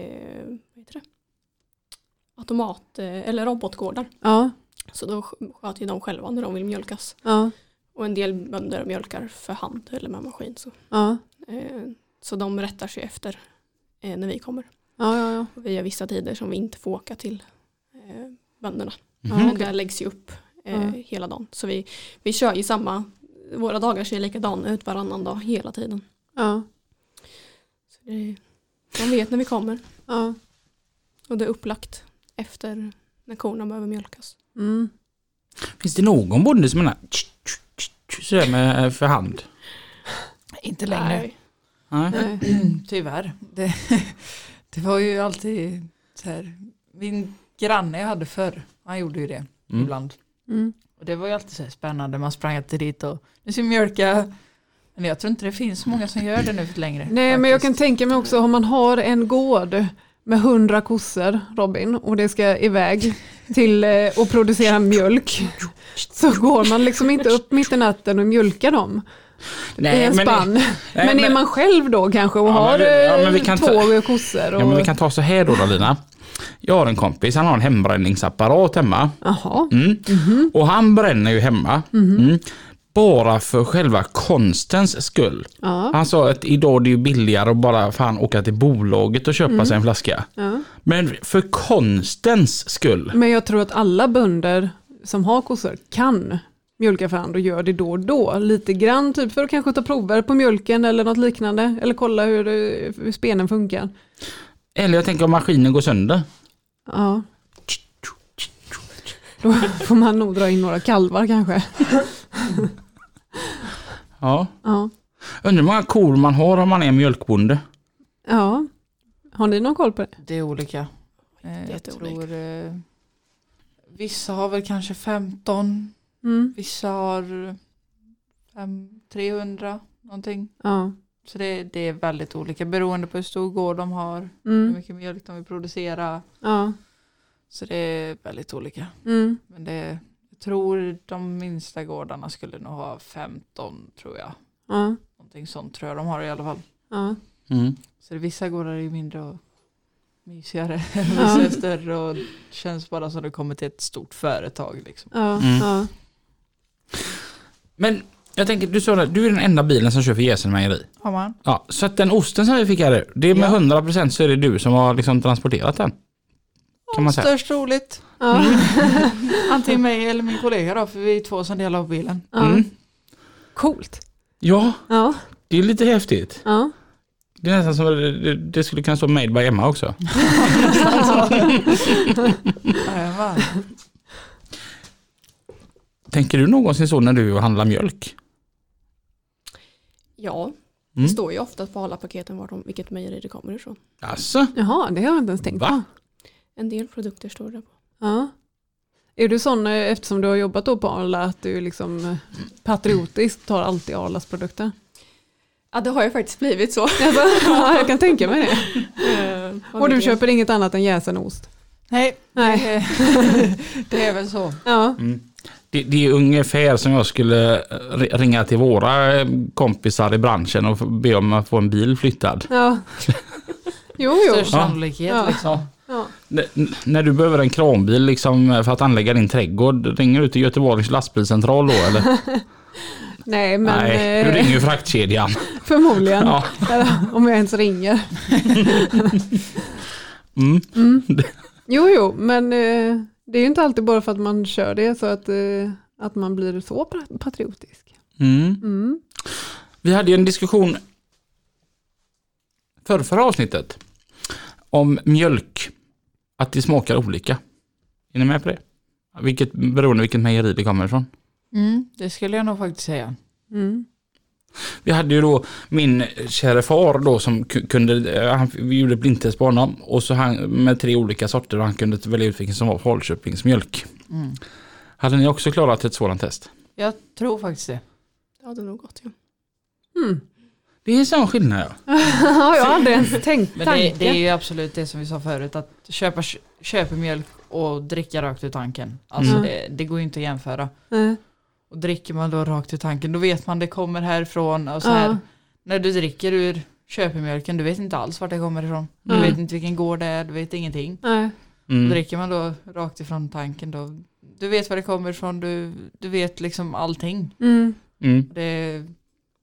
S8: heter det? automat eh, eller robotgårdar.
S2: Ja.
S8: Så då sk- sköter ju de själva när de vill mjölkas.
S2: Ja.
S8: Och en del bönder mjölkar för hand eller med maskin. Så,
S2: Ja.
S8: eh, så de rättar sig efter eh, när vi kommer.
S2: Ja. Ja. Ja.
S8: Och vi har vissa tider som vi inte får åka till eh, bönderna.
S2: Mm.
S3: Mm,
S8: Men där läggs ju upp eh,
S2: Ja.
S8: hela dagen. Så vi, vi kör ju samma, våra dagar ser likadana ut varannan dag hela tiden.
S2: Ja.
S8: Så det, man vet när vi kommer
S2: ja.
S8: och det är upplagt efter när korna behöver mjölkas.
S2: Mm.
S3: Finns det någon bonde som menar sådär med eh, för hand?
S7: Inte längre.
S8: Nej.
S3: Nej.
S2: Nej.
S7: Tyvärr. Det, det var ju alltid så här. Min granne jag hade förr, han gjorde ju det
S3: Mm.
S7: ibland.
S2: Mm.
S7: Och det var ju alltid så här spännande. Man sprang alltid dit och nu ska vi mjölka. Men jag tror inte det finns så många som gör det nu för längre.
S2: Nej, men jag kan
S7: faktiskt.
S2: tänka mig också om man har en gård med hundra kossor, Robin, och det ska iväg till eh, att producera mjölk. Så går man liksom inte upp mitt i natten och mjölkar dem i en spann. Men,
S3: men-
S2: är man själv då kanske och
S3: Ja, men
S2: har
S3: vi- ja, men vi
S2: eh,
S3: kan
S2: två
S3: ta-
S2: kossor? Och...
S3: Ja, men vi kan ta så här då Dalina. Jag har en kompis, han har en hembränningsapparat hemma.
S2: Jaha,
S3: Mm.
S2: Mm-hmm.
S3: Och han bränner ju hemma. Mm. Bara för själva konstens skull.
S2: ja.
S3: Han sa att idag är det ju billigare att bara fan åka till bolaget och köpa sig en flaska.
S2: Mm-hmm. Ja.
S3: Men för konstens skull.
S2: Men jag tror att alla bönder som har kossor kan mjölka för hand och gör det då och då. Lite grann typ för att kanske ta prover på mjölken eller något liknande. Eller kolla hur, det- hur spenen funkar.
S3: Eller jag tänker om maskinen går sönder.
S2: Ja. Då får man nog dra in några kalvar kanske.
S3: Ja.
S2: Ja.
S3: Undrar hur många kor man har om man är mjölkbonde.
S2: ja. Har ni någon koll på det?
S7: Det är olika. Eh, Jag
S8: Jätteolika.
S7: tror eh, vissa har väl kanske 15,
S2: Mm.
S7: vissa har fem- 300 någonting.
S2: Ja.
S7: Så det, det är väldigt olika beroende på hur stor gård de har, hur
S2: Mm.
S7: mycket mjölk de vill producera.
S2: Ja.
S7: Så det är väldigt olika.
S2: Mm.
S7: Men det, jag tror de minsta gårdarna skulle nog ha 15 tror jag.
S2: Ja.
S7: Någonting sånt tror jag de har i alla fall.
S2: Ja.
S3: Mm.
S7: Så det, vissa gårdar är ju mindre och mysigare. Vissa är större och känns bara som det kommer till ett stort företag. Liksom.
S2: Ja.
S3: Mm.
S2: Ja.
S3: Men jag tänker, du sa det, du är den enda bilen som kör för Gäsen mejeri.
S7: Har man?
S3: Ja, så att den osten som vi fick här, det är med
S7: Ja.
S3: 100% så är det du som har liksom transporterat den. Kan man säga.
S7: Störst roligt.
S2: Ja.
S3: Mm.
S7: Antingen mig eller min kollega då, för vi är två som delar på bilen.
S2: Ja.
S3: Mm.
S2: Coolt.
S3: Ja,
S2: Ja.
S3: det är lite häftigt.
S2: Ja.
S3: Det är nästan som att det, det skulle kunna stå made by Emma också.
S7: Jajamän.
S3: Tänker du någonsin så när du handlar mjölk?
S8: Ja,
S3: Mm.
S8: det står ju ofta på alla paketen var de, vilket mejeri det kommer ifrån.
S3: Alltså,
S2: Jaha, det har jag inte ens tänkt på.
S3: Va?
S8: En del produkter står det på.
S2: Ja. Är du sån, eh, eftersom du har jobbat då på Arla, att du liksom eh, patriotiskt tar alltid Arlas produkter?
S8: Ja, det har ju faktiskt blivit så.
S2: Alltså, ja, jag kan tänka mig det.
S8: Mm.
S2: Och du köper inget annat än jäsen ost?
S7: Nej,
S2: Nej.
S7: det är väl så.
S2: Ja.
S3: det, det är ungefär som jag skulle eh, ri- ringa till våra eh, kompisar i branschen och be om att få en bil flyttad.
S2: ja. Jo, jo.
S7: Störst
S3: Ja.
S7: sannolikhet.
S2: Ja.
S7: Liksom.
S2: Ja.
S3: N- n- när du behöver en kranbil liksom för att anlägga din trädgård, ringer du till Göteborgs lastbilscentral då eller?
S2: Nej, men
S3: Nej, du
S2: eh,
S3: ringer ju fraktkedjan.
S2: förmodligen.
S3: Ja.
S2: Eller, Om jag ens ringer.
S3: Mm.
S2: Jo, jo, men eh, det är ju inte alltid bara för att man kör det så att, eh, att man blir så pra- patriotisk.
S3: Mm.
S2: Mm.
S3: Vi hade ju en diskussion för förra avsnittet om mjölk. Att det smakar olika. Är ni med på det? Vilket, beroende vilket mejeri det kommer ifrån.
S7: Mm, det skulle jag nog faktiskt säga.
S2: Mm.
S3: Vi hade ju då min kära far då som ku- kunde, eh, han, vi gjorde blindtest på honom och så han, med tre olika sorter och han kunde välja ut vilken som var Falköpings mjölk.
S7: Mm.
S3: Hade ni också klarat ett sådant test?
S7: Jag tror faktiskt det.
S8: Det hade nog gått ju.
S2: Mm.
S3: Det är en sån skillnad ja.
S2: Ja, jag har aldrig ens tänkt
S7: Men det,
S2: tanken.
S7: det är ju absolut det som vi sa förut, att köpa, köpa mjölk och dricka rakt ur tanken. Alltså
S2: Mm.
S7: det, det går ju inte att jämföra.
S2: Nej.
S7: Och dricker man då rakt ur tanken, då vet man det kommer härifrån och så
S2: Ja.
S7: här. När du dricker ur köpemjölken, du vet inte alls vart det kommer ifrån. Du
S2: Mm.
S7: vet inte vilken gård det är, du vet ingenting.
S2: Nej.
S3: Mm.
S7: Dricker man då rakt ifrån tanken då, du vet var det kommer ifrån, du, du vet liksom allting.
S2: Mm.
S3: Mm.
S7: Det,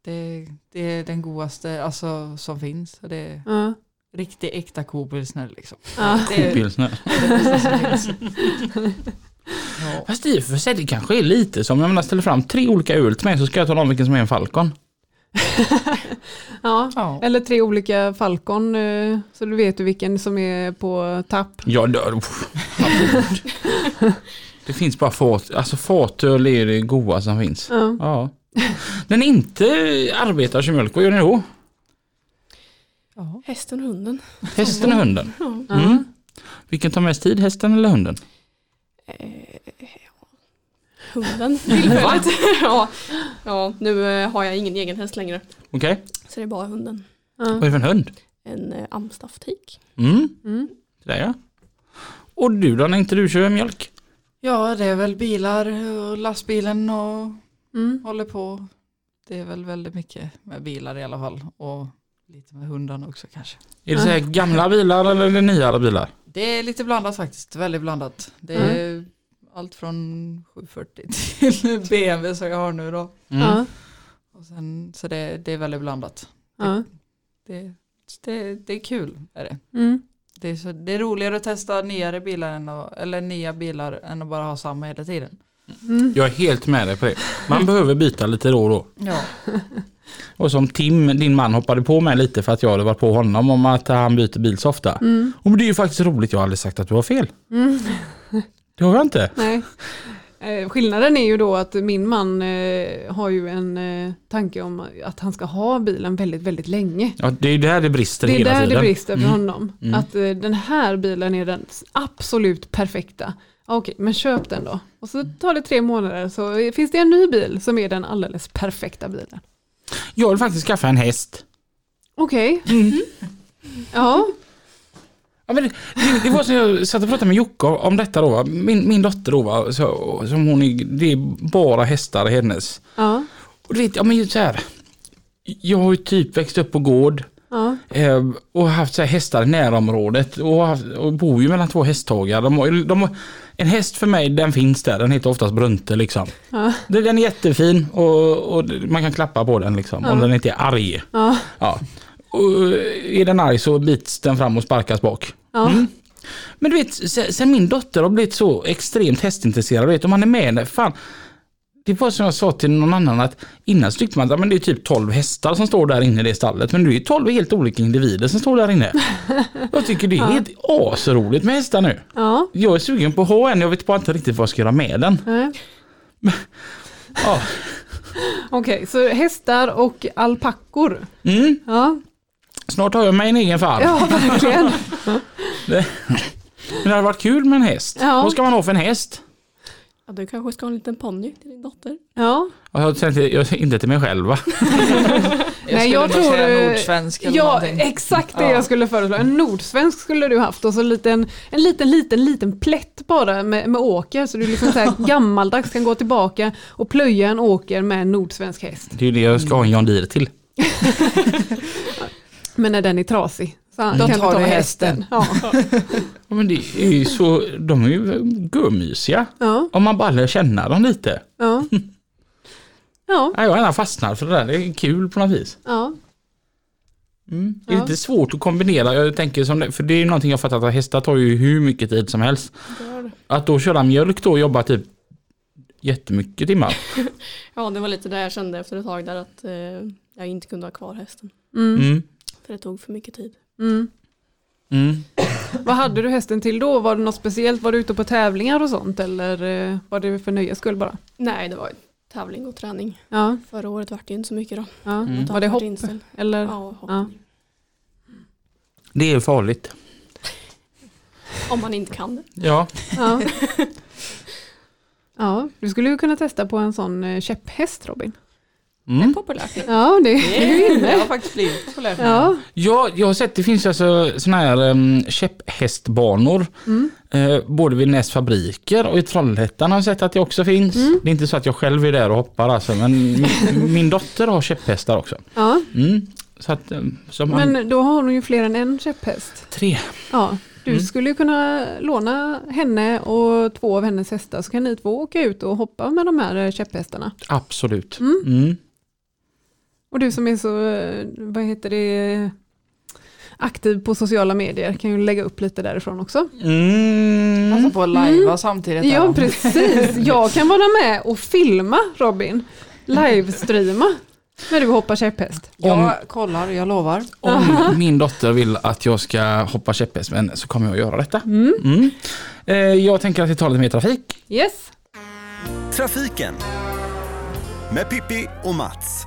S7: det, det är den godaste alltså, som finns. Och Det är
S2: Ja.
S7: riktig äkta kopilsner liksom.
S2: Ja.
S7: Det är det
S3: Pilsner.
S7: bästa som finns.
S3: Fast i och för sig, det kanske är lite som, jag menar ställer fram tre olika ur till mig så ska jag tala om vilken som är en Falcon.
S2: Ja.
S7: Ja.
S2: Eller tre olika Falcon, eh, så du vet du vilken som är på tapp.
S3: Jag dör. Uff. det finns bara fåt, alltså fåtöl är det goda som finns.
S2: Ja.
S3: Ja. Den inte arbetar som mjölk, vad gör ni då?
S8: Hästen och hunden.
S3: Hästen och hunden.
S8: Ja.
S3: Mm. Vilken tar mest tid, hästen eller hunden?
S8: Eh, ja. hunden tillfälligt. ja. ja, nu eh, har jag ingen egen häst längre.
S3: Okej,
S8: Så det är bara hunden.
S3: vad är det för en hund?
S8: En eh, amstafftik.
S3: Mm.
S2: Mm.
S3: Där ja. Och du då, när inte du kör mjölk?
S7: Ja, det är väl bilar och lastbilen och
S2: Mm.
S7: håller på. Det är väl väldigt mycket med bilar i alla fall och lite med hundarna också kanske.
S3: Är det så här gamla bilar eller är det nyare bilar?
S7: Det är lite blandat faktiskt, väldigt blandat. Det är allt från 740 till BMW som jag har nu då.
S3: Mm.
S2: Ja.
S7: Och sen, så det, det är väldigt blandat.
S2: Ja.
S7: Det, det, det är kul. Är det.
S2: Mm.
S7: Det, är så, det är roligare att testa nyare bilar än att, eller nya bilar än att bara ha samma hela tiden.
S2: Mm.
S3: Jag är helt med dig på det. Man behöver byta lite då och då.
S7: Ja.
S3: Och som Tim, din man, hoppade på mig lite för att jag hade varit på honom om att han byter bil så ofta.
S2: Mm.
S3: Och men det är ju faktiskt roligt, jag har aldrig sagt att du har fel.
S2: Mm.
S3: Det har jag inte.
S2: Nej. Eh, Skillnaden är ju då att min man eh, har ju en eh, tanke om att han ska ha bilen väldigt, väldigt länge.
S3: Ja, det är ju där det brister
S2: Det är
S3: hela
S2: där
S3: tiden.
S2: det brister för
S3: Mm.
S2: honom.
S3: Mm.
S2: Att eh, den här bilen är den absolut perfekta. Ja, Okej, men köp den då. Och så tar det tre månader så eh, finns det en ny bil som är den alldeles perfekta bilen.
S3: Jag vill faktiskt skaffa en häst.
S2: Okej. Mm. Ja.
S3: Ja, men det, det, det var så jag satt och pratade med Jocke om detta då. va. Min, min dotter då, va, så, som hon är, det är bara hästar i hennes.
S2: Ja.
S3: Och du vet, ja men just så här. Jag har ju typ växt upp på gård.
S2: Ja.
S3: Eh, och haft så här hästar i närområdet och, har haft, och bor ju mellan två hästhagar. De, har- de, har- en häst för mig den finns där, den heter oftast Brunte liksom.
S2: Ja.
S3: Den den är jättefin och, och man kan klappa på den liksom om den inte är arg.
S2: Ja.
S3: Ja. Och, eh, är den arg så bits den fram och sparkas bak. Mm.
S2: Ja.
S3: Men du vet, sen, sen min dotter har blivit så extremt hästintresserad, du vet, om man är med henne, fan. Det var som jag sa till någon annan att innan så tyckte man att men det är typ 12 hästar som står där inne i det stallet, men nu är det 12 helt olika individer som står där inne. Jag tycker det är helt asroligt med hästar nu.
S2: Ja.
S3: Jag är sugen på att ha en, jag vet bara inte riktigt vad jag ska göra med den.
S2: Nej.
S3: Ja.
S2: Okej, så hästar och alpackor.
S3: Mm,
S2: Ja,
S3: snart har jag mig en egen farm.
S2: ja verkligen.
S3: Men det hade varit kul med en häst.
S2: Ja.
S3: Vad ska man ha för en häst?
S8: Ja, du kanske ska ha en liten ponny till din dotter.
S2: Ja.
S3: Ja, Jag tänkte, jag, inte till mig själv va?
S7: Jag
S2: Nej,
S7: skulle
S2: jag
S7: nog
S2: tror, eh,
S7: säga nordsvensk eller
S2: Ja,
S7: någonting.
S2: exakt det
S7: Ja.
S2: jag skulle föreslå. En nordsvensk skulle du haft och så en liten, en liten, liten, liten plätt bara med, med åker så du liksom så här gammaldags kan gå tillbaka och plöja en åker med en nordsvensk häst.
S3: Det är ju det jag ska ha en John Deere till.
S2: Men när den är trasig så han
S7: Mm. Då
S2: kan
S7: tar
S2: ta
S7: du
S2: hästen. Ja.
S3: Ja, men det är ju så, de är ju gummysiga.
S2: Ja.
S3: Om man bara lär känna dem lite.
S2: Ja. Ja.
S3: Ja, jag har gärna fastnat för det där, det är kul på något vis.
S2: Ja.
S3: Mm. Det är
S2: Ja.
S3: lite svårt att kombinera, jag tänker som det, för det är ju någonting jag fattat att hästar tar ju hur mycket tid som helst. Att då köra mjölk då och jobba typ jättemycket timmar.
S8: Ja, det var lite det jag kände efter ett tag där att eh, jag inte kunde ha kvar hästen.
S2: Mm.
S3: Mm.
S8: För det tog för mycket tid.
S2: Mm.
S3: Mm.
S2: Vad hade du hästen till då? Var det något speciellt? Var du ute på tävlingar och sånt eller eh, var det för nöjes skull bara?
S8: Nej, det var ju tävling och träning.
S2: Ja,
S8: Förra året vart det ju inte så mycket då.
S2: ja.
S3: Mm.
S2: Var det hopp?
S8: Inställd.
S2: Eller?
S8: Ja, hopp.
S2: Ja.
S3: Det är farligt.
S8: Om man inte kan det.
S3: Ja,
S2: Ja. ja, du skulle ju kunna testa på en sån eh, käpphäst Robin.
S3: mm.
S8: Populärt nu.
S2: Ja, det är du
S7: Jag
S2: inne.
S7: har faktiskt blivit populär.
S2: Ja,
S3: ja jag har sett det finns ju alltså såna här um, käpphästbanor.
S2: mm.
S3: Eh, både vid Näs fabriker och i Trollhättan har jag sett att det också finns. Det är inte så att jag själv är där och hoppar alltså, men min, min dotter har käpphästar också.
S2: ja.
S3: Mm. Så att, eh, som men,
S2: men då har hon ju fler än en käpphäst.
S3: tre.
S2: Ja, du skulle ju kunna låna henne och två av hennes hästar så kan ni två åka ut och hoppa med de här eh, käpphästarna.
S3: Absolut. Mm.
S2: Och du som är så, eh, vad heter det, aktiv på sociala medier kan ju lägga upp lite därifrån också.
S3: Mm.
S7: Passa på att lajva samtidigt. här,
S2: Ja
S7: va?
S2: precis, jag kan vara med och filma Robin, livestreama när du hoppar käpphäst.
S7: Jag kollar, jag lovar.
S3: Om min dotter vill att jag ska hoppa käpphäst med henne så kommer jag att göra detta. Mm. Eh, jag tänker att vi tar lite mer trafik.
S2: Yes,
S4: Trafiken med Pippi och Mats.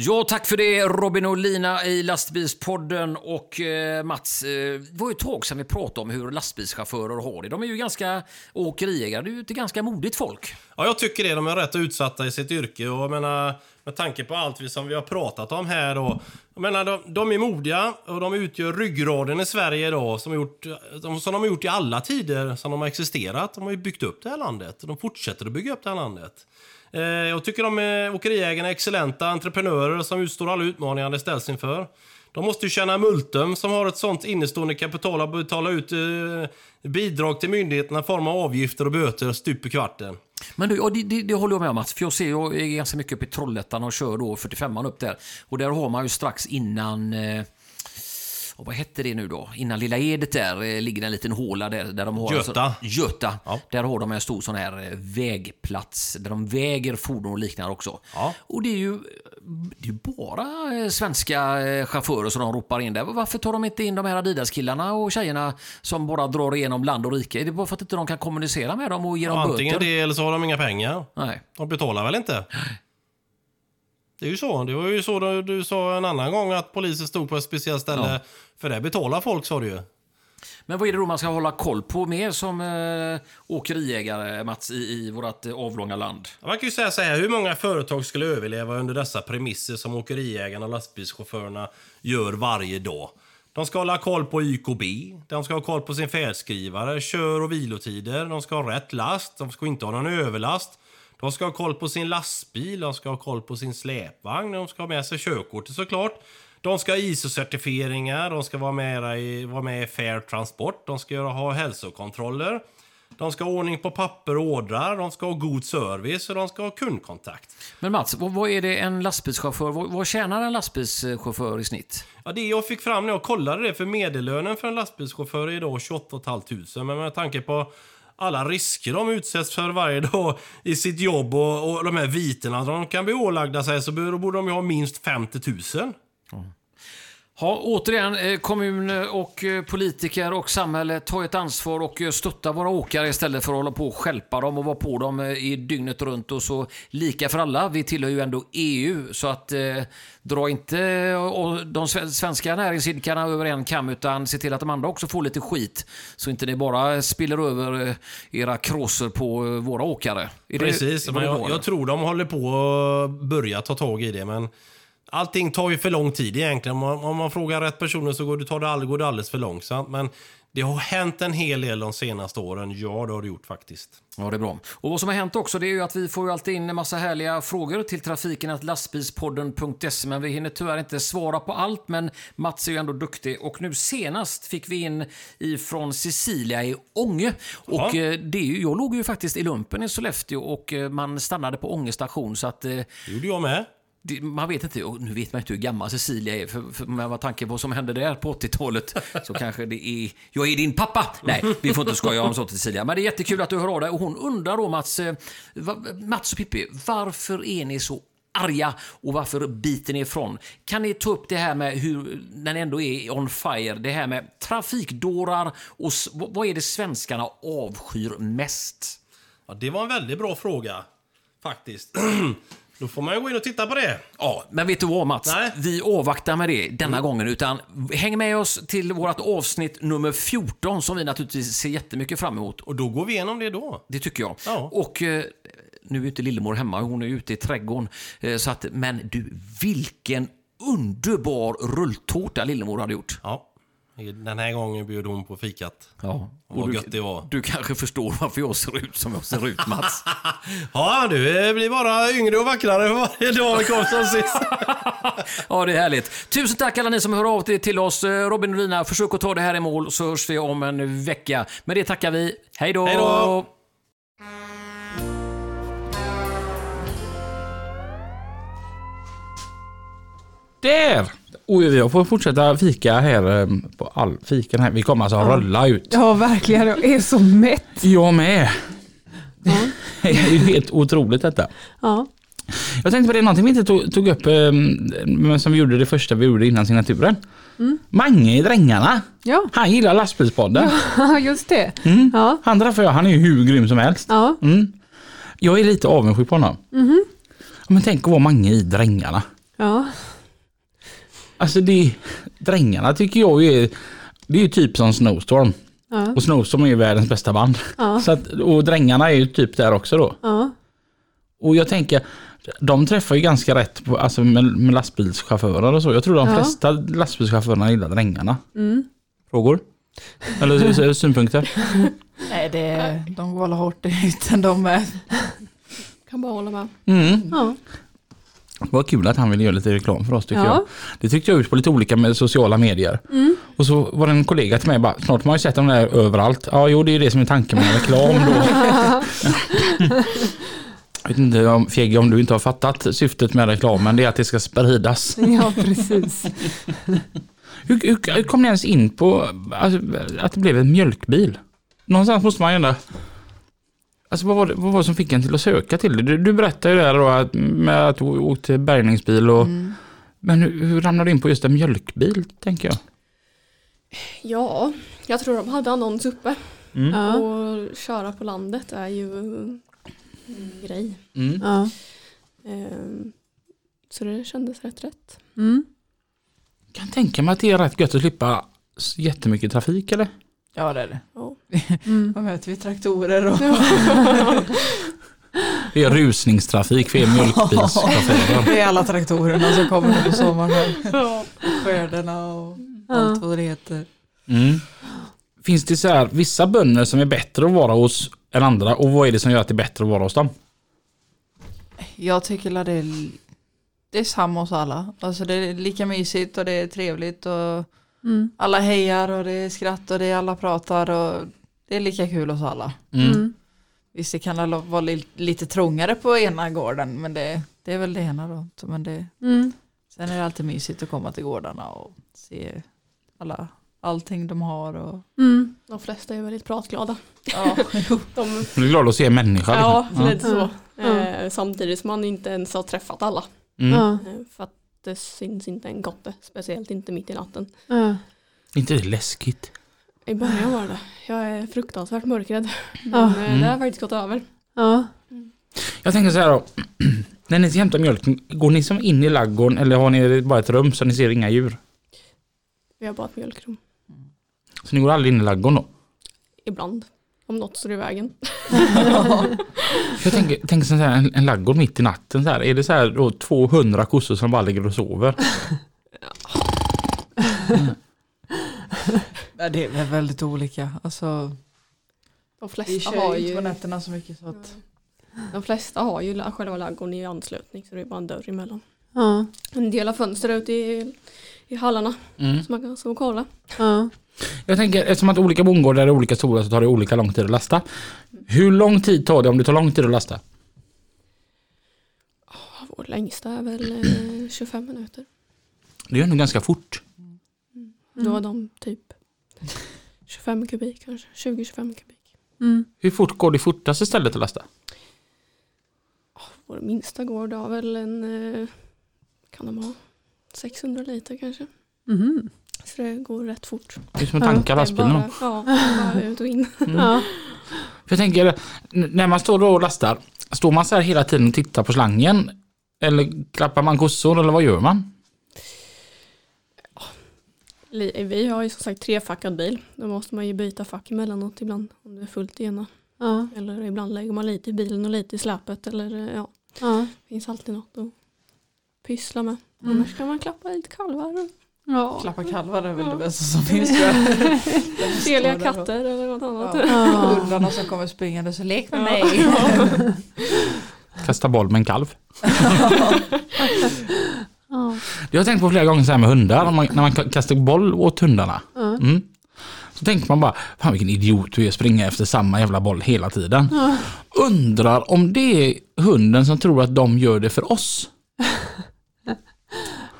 S5: Ja, tack för det Robin och Lina i Lastbilspodden och eh, Mats. Eh, det var ju ett tag sedan vi pratade om hur lastbilschaufförer har det. De är ju ganska åkeriägare, det är ju ett ganska modigt folk.
S6: Ja, jag tycker det. De är rätt utsatta i sitt yrke. Och jag menar, med tanke på allt vi, som vi har pratat om här. Och, jag menar, de, de är modiga och de utgör ryggraden i Sverige idag. Som, har gjort, de, som de har gjort i alla tider som de har existerat. De har ju byggt upp det här landet. och De fortsätter att bygga upp det här landet. Eh, jag tycker de är, åkeriägarna är excellenta entreprenörer som utstår alla utmaningar de ställs inför. De måste ju känna Multum som har ett sånt innestående kapital att betala ut eh, bidrag till myndigheterna i form av avgifter och böter stup i kvarten.
S5: Men du, ja, det, det, det håller jag med om Mats, för jag ser jag är ganska mycket uppe i Trollhättan och kör då 45an upp där. Och där har man ju strax innan eh, och vad hette det nu då? Innan Lilla Edet där eh, ligger en liten håla där, där de har...
S6: Göta.
S5: En sån, Göta.
S6: Ja.
S5: Där har de en stor sån här eh, vägplats där de väger fordon och liknande också.
S6: Ja.
S5: Och det är ju det är ju bara eh, svenska eh, chaufförer som de ropar in där. Varför tar de inte in de här Adidas-killarna och tjejerna som bara drar igenom land och rike? Är det bara för att inte de kan kommunicera med dem och ge dem
S6: Antingen
S5: böter?
S6: det eller så har de inga pengar.
S5: Nej.
S6: De betalar väl inte? Det är ju så. Det var ju så du, du sa en annan gång att polisen stod på ett speciellt ställe. För där betalar folk sa du ju.
S5: Men vad är det då man ska hålla koll på mer som eh, åkeriägare, Mats, i, i vårt eh, avlånga land?
S6: Man kan ju säga så här, hur många företag skulle överleva under dessa premisser som åkeriägarna och lastbilschaufförerna gör varje dag? De ska hålla koll på YKB, de ska ha koll på sin färdskrivare, kör och vilotider, de ska ha rätt last, de ska inte ha någon överlast. De ska ha koll på sin lastbil, de ska ha koll på sin släpvagn, de ska ha med sig körkortet såklart. De ska ha ISO-certifieringar, de ska vara med i, vara med i Fair Transport, de ska göra, ha hälsokontroller. De ska ha ordning på papper och ordrar, de ska ha god service och de ska ha kundkontakt.
S5: Men Mats, vad, vad är det en lastbilschaufför, vad, vad tjänar en lastbilschaufför i snitt?
S6: Ja, det jag fick fram när jag kollade det, för medellönen för en lastbilschaufför är idag 28 500. Men med tanke på alla risker de utsätts för varje dag i sitt jobb och, och de här vitena de kan bli ålagda sig så borde borde de ju ha minst 50 000.
S5: Ha, återigen, eh, kommun och eh, politiker och samhälle, ta ett ansvar och eh, stötta våra åkare istället för att hålla på och stjälpa dem och vara på dem eh, i dygnet runt och så lika för alla. Vi tillhör ju ändå EU, så att eh, dra inte eh, och de sve- svenska näringsidkarna över en kam, utan se till att de andra också får lite skit. Så inte ni bara spiller över eh, era kråsor på eh, våra åkare. Är det-
S6: Precis,
S5: är
S6: men
S5: det
S6: jag,
S5: bra,
S6: jag tror de håller på att börja ta tag i det. Men allting tar ju för lång tid egentligen. Om man, om man frågar rätt personer så går det, tar det, all- går det alldeles för långsamt. Men det har hänt en hel del de senaste åren. Ja, det har det gjort faktiskt.
S5: Ja, det är bra. Och vad som har hänt också det är ju att vi får ju alltid in en massa härliga frågor till trafiken att lastbilspodden.se men vi hinner tyvärr inte svara på allt men Mats är ju ändå duktig och nu senast fick vi in ifrån Cecilia i Ånge och
S6: Ja.
S5: eh, det är ju, jag låg ju faktiskt i lumpen i Sollefteå och eh, man stannade på Ånge station så att eh,
S6: Det gjorde jag med.
S5: det, man vet inte, och nu vet man inte hur gammal Cecilia är, för, för med vad tanke på vad som hände där på 80-talet så kanske det är... Jag är din pappa! Nej, vi får inte skoja om sånt Cecilia. Men det är jättekul att du hör av dig och hon undrar då Mats, eh, va, Mats och Pippi, varför är ni så arga och varför biter ni ifrån? Kan ni ta upp det här med hur, när ni ändå är on fire, det här med trafikdårar och s- vad vad är det svenskarna avskyr mest?
S6: Ja, det var en väldigt bra fråga, faktiskt. Då får man ju gå in och titta på det.
S5: Ja, men vet du vad Mats?
S6: Nej. Mm.
S5: Vi avvaktar med det denna gången. Utan häng med oss till vårt avsnitt nummer 14 som vi naturligtvis ser jättemycket fram emot.
S6: Och då går vi igenom det då.
S5: Det tycker jag.
S6: Ja.
S5: Och eh, nu är inte Lillemor hemma, hon är ute i trädgården. Eh, så att, men du, vilken underbar rulltårta Lillemor hade gjort.
S6: Ja. Den här gången bjöd hon på fikat.
S5: Ja,
S6: Vad gött det var.
S5: Du kanske förstår varför jag ser ut som jag ser ut Mats.
S6: Ja, du eh, blir bara yngre och vackrare för varje dag vi kom som sist.
S5: ja, det är härligt. Tusen tack alla ni som hör av er till oss. Eh, Robin och Lina, försök att ta det här i mål så hörs vi om en vecka. Med det tackar vi. Hej då!
S6: Hej då!
S3: Där! Oj, jag får fortsätta fika här eh, på all fiken här. Vi kommer alltså att rulla ut.
S2: Ja, verkligen. Jag är så mätt.
S3: Jag med. Det är ju helt otroligt detta.
S2: Ja.
S3: Jag tänkte på det, någonting vi inte tog, tog upp, eh, men som vi gjorde det första vi gjorde innan signaturen. Mange i Drängarna.
S2: Ja,
S3: Han gillar lastbilspodden.
S2: just det.
S3: Mm.
S2: Ja.
S3: Han träffade jag, han är ju hur grym som helst.
S2: Ja.
S3: Mm. Jag är lite avundsjuk på honom.
S2: Mhm.
S3: Ja, Men tänk att vara Mange i Drängarna.
S2: Ja.
S3: Alltså det, Drängarna tycker jag är, det är ju typ som Snowstorm.
S2: Ja.
S3: Och Snowstorm är ju världens bästa band.
S2: Ja.
S3: Så att, och Drängarna är ju typ där också då.
S2: Ja.
S3: Och jag tänker, de träffar ju ganska rätt på, alltså med, med lastbilschaufförer och så. Jag tror de
S2: Ja. Mm.
S3: flesta lastbilschaufförerna gillar Drängarna. Frågor? Eller s- s- synpunkter?
S7: Nej, det, de går alla hårt i hytten de med.
S8: Kan bara hålla med.
S3: Mm.
S2: Ja.
S3: Vad kul att han ville göra lite reklam för oss tycker
S2: Ja.
S3: jag. Det tyckte jag ut på lite olika med sociala medier. Och så var det en kollega till mig bara, snart har man ju sett dem där överallt. Ja, jo det är ju det som är tanken med reklam då. jag vet inte om, Fegge, om du inte har fattat syftet med reklamen, det är att det ska spridas.
S2: ja, precis.
S3: Hur, hur, hur kom ni ens in på alltså, att det blev en mjölkbil? Någonstans måste man ju ändå... Alltså vad var, det, vad var det som fick en till att söka till det? Du, du berättade ju där då att, med att du åkte bärgningsbil och... Men hur, hur ramlade du in på just en mjölkbil, tänker jag?
S8: Ja, jag tror de hade annons uppe.
S2: Ja.
S8: Och köra på landet är ju en grej.
S3: Mm.
S2: Ja.
S8: Ehm, Så det kändes rätt rätt.
S2: Mm.
S3: Kan tänka mig att det är rätt gött att slippa s- jättemycket trafik eller?
S7: Ja, det är det.
S8: Ja.
S2: Mm.
S7: Vad möter vi? Traktorer och...
S3: Det är rusningstrafik för er mjölkbilschaufförer.
S7: Det är alla traktorerna som kommer nu på sommaren. här. Skördarna och allt vad det heter.
S3: Mm. Finns det så här, vissa bönder som är bättre att vara hos än andra och vad är det som gör att det är bättre att vara hos dem?
S7: Jag tycker att det är, det är samma hos alla. Alltså det är lika mysigt och det är trevligt och
S2: Mm.
S7: alla hejar och det är skratt och det är alla pratar och det är lika kul hos alla.
S2: Mm.
S7: Visst det kan alla vara li- lite trångare på ena gården men det, det är väl det ena då. Så, Men det,
S2: Mm.
S7: sen är det alltid mysigt att komma till gårdarna och se alla, allting de har. Och,
S2: Mm.
S8: De flesta är väldigt pratglada.
S7: ja,
S8: De,
S3: Du är glad att se en människa? liksom.
S8: ja, lite så.
S2: Ja.
S8: Ehm, Samtidigt som man inte ens har träffat alla.
S3: Mm.
S2: Ja.
S8: Ehm, För att det syns inte en gotte. Speciellt inte mitt i natten.
S2: Ja.
S3: inte det läskigt?
S8: I början var det det. Jag är fruktansvärt mörkrädd. Men
S2: Ja.
S8: eh,
S3: Mm.
S8: det har faktiskt gått över.
S2: Ja.
S3: Jag tänker så här då. När ni ska hämta mjölken, går ni som in i laggården eller har ni bara ett rum så ni ser inga djur?
S8: Vi har bara ett mjölkrum.
S3: Så ni går aldrig in i laggården då?
S8: Ibland. Om något står i vägen.
S3: Jag tänker, tänker så här, en, en laggård mitt i natten så här. Är det så här då 200 kossor som bara ligger och sover?
S7: Ja, det är väl väldigt olika. Alltså, vi
S8: De flesta,
S7: kör
S8: har
S7: ju inte på
S8: ju,
S7: nätterna så mycket. Så att,
S8: de flesta har ju la- själva ladugården i anslutning så det är bara en dörr emellan.
S2: Ja.
S8: En del har fönster ute i, i hallarna
S3: Mm.
S8: som man kan stå och kolla.
S2: Ja.
S3: Jag tänker eftersom att olika bondgårdar är olika stora så tar det olika lång tid att lasta. Hur lång tid tar det om det tar lång tid att lasta?
S8: Vår längsta är väl eh, 25 minuter.
S3: Det är ju ändå ganska fort.
S8: Då var de typ 25 kubik kanske, 20-25 kubik.
S2: Mm.
S3: Hur fort går det fortaste stället att lasta?
S8: Vår minsta gård har väl en, eh, kan de ha, 600 liter kanske.
S2: Mhm.
S8: Så det går rätt fort.
S3: Det är som att tanka
S8: Det är
S3: lastbilen. då.
S8: bara, Ja, det är bara ut och in.
S2: Ja.
S3: För jag tänker, n- när man står då och lastar, står man så här hela tiden och tittar på slangen? Eller klappar man kossor eller vad gör man?
S8: Li- Vi har ju som sagt trefackad bil. Då måste man ju byta fack emellanåt ibland om det är fullt i ena.
S2: Ja.
S8: Eller ibland lägger man lite i bilen och lite i släpet. Eller eh, ja,
S2: Ja.
S8: det finns alltid något att pyssla med. Annars kan man klappa lite kalvar och
S2: Ja.
S7: klappa kalvar är väl
S8: Ja.
S7: det bästa som finns. tror jag.
S8: seliga
S7: där
S8: katter eller något annat.
S7: Ja. Hundarna som kommer springande så lek med mig.
S3: Kasta boll med en kalv?
S2: Ja.
S3: Jag har tänkt på flera gånger så här med hundar, om man, när man ka- kastar boll åt hundarna. Mm. Så tänker man bara, fan vilken idiot du är springa efter samma jävla boll hela tiden. Undrar om det är hunden som tror att de gör det för oss.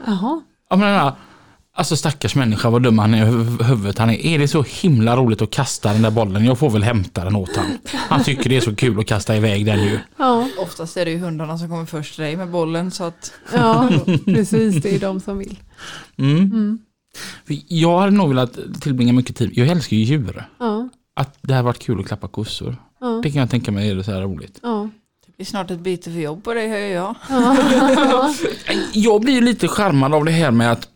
S2: Jaha.
S3: Jag menar, alltså stackars människa vad dum han är i huv- huvudet han är. Är det så himla roligt att kasta den där bollen? Jag får väl hämta den åt han. Han tycker det är så kul att kasta iväg den ju.
S2: Ja,
S7: Oftast är det ju hundarna som kommer först till dig med bollen så att
S2: ja precis. Det är de som vill.
S3: Mm. För Jag hade nog velat tillbringa mycket tid, jag älskar ju djur.
S2: Ja,
S3: Att det hade varit kul att klappa kossor.
S2: ja,
S3: Det kan jag tänka mig är det så här roligt.
S2: ja.
S7: det blir snart ett byte för jobb på dig hör jag.
S3: Jag blir ju lite charmad av det här med att,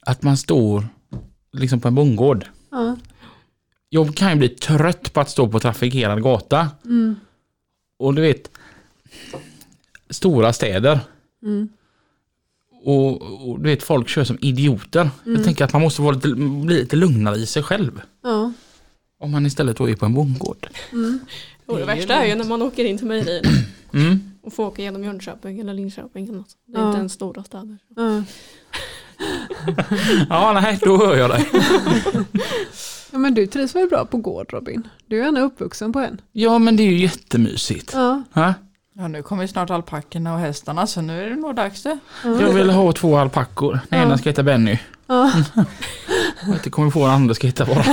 S3: att man står liksom på en bondgård.
S2: ja.
S3: Jag kan ju bli trött på att stå på trafikerad gata.
S2: Mm.
S3: Och du vet, stora städer.
S2: Mm.
S3: Och, och du vet, folk kör som idioter.
S2: Mm.
S3: Jag tänker att man måste vara lite, bli lite lugnare i sig själv.
S2: Ja,
S3: Om man istället då är på en bondgård.
S8: Och det
S3: Det är
S8: värsta är ju när man åker in till mejerierna
S3: Mm.
S8: och får åka genom Jönköping eller Linköping eller något. Det är
S2: Ja.
S8: inte ens stora städer.
S2: ja.
S3: Ja, nej, då hör jag dig.
S2: ja, men du trivs väl bra på gård Robin? Du är gärna uppvuxen på en.
S3: Ja, men det är ju jättemysigt.
S2: Ja,
S3: Ja.
S7: Ja nu kommer ju snart alpackorna och hästarna så nu är det nog dags det.
S3: Jag vill ha två alpackor. Den ena ska heta Benny.
S2: ja.
S3: Och inte kommer få den andra ska heta bara.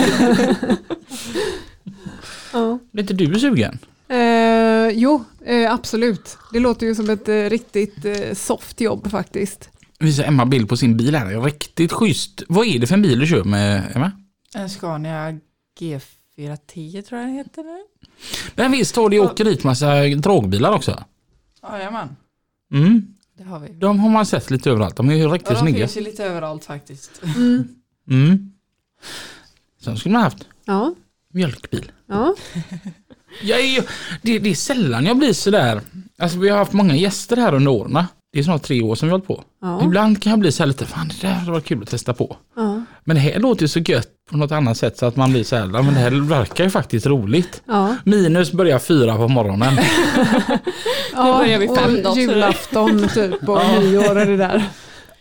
S2: ja.
S3: Blir inte du sugen?
S2: Eh, jo, eh, absolut. Det låter ju som ett eh, riktigt eh, soft jobb faktiskt.
S3: Visar Emma bild på sin bil här. Riktigt schysst. Vad är det för en bil du kör med Emma?
S7: En Scania G410 tror jag den heter nu.
S3: Men visst har det åker dit massa drogbilar också?
S7: Jajamän,
S3: Mm.
S7: det har vi.
S3: De har man sett lite överallt. De är ju riktigt
S7: Ja, de
S3: snygga.
S7: finns ju lite överallt faktiskt.
S3: Mm. Sen skulle man haft
S2: Ja,
S3: mjölkbil.
S2: ja,
S3: Jag är, ju- det, det är sällan jag blir sådär. Alltså vi har haft många gäster här under åren. Det är snart tre år som vi har hållit på.
S2: ja,
S3: Ibland kan jag bli så här lite, fan det där hade varit kul att testa på.
S2: ja,
S3: Men det här låter ju så gött på något annat sätt så att man blir så här, "Ja, men det här verkar ju faktiskt roligt.
S2: ja.
S3: Minus börjar fyra på morgonen.
S2: ja.
S8: börjar vi fem
S2: och
S8: dagar, så det-
S2: Julafton typ och nyår och det där.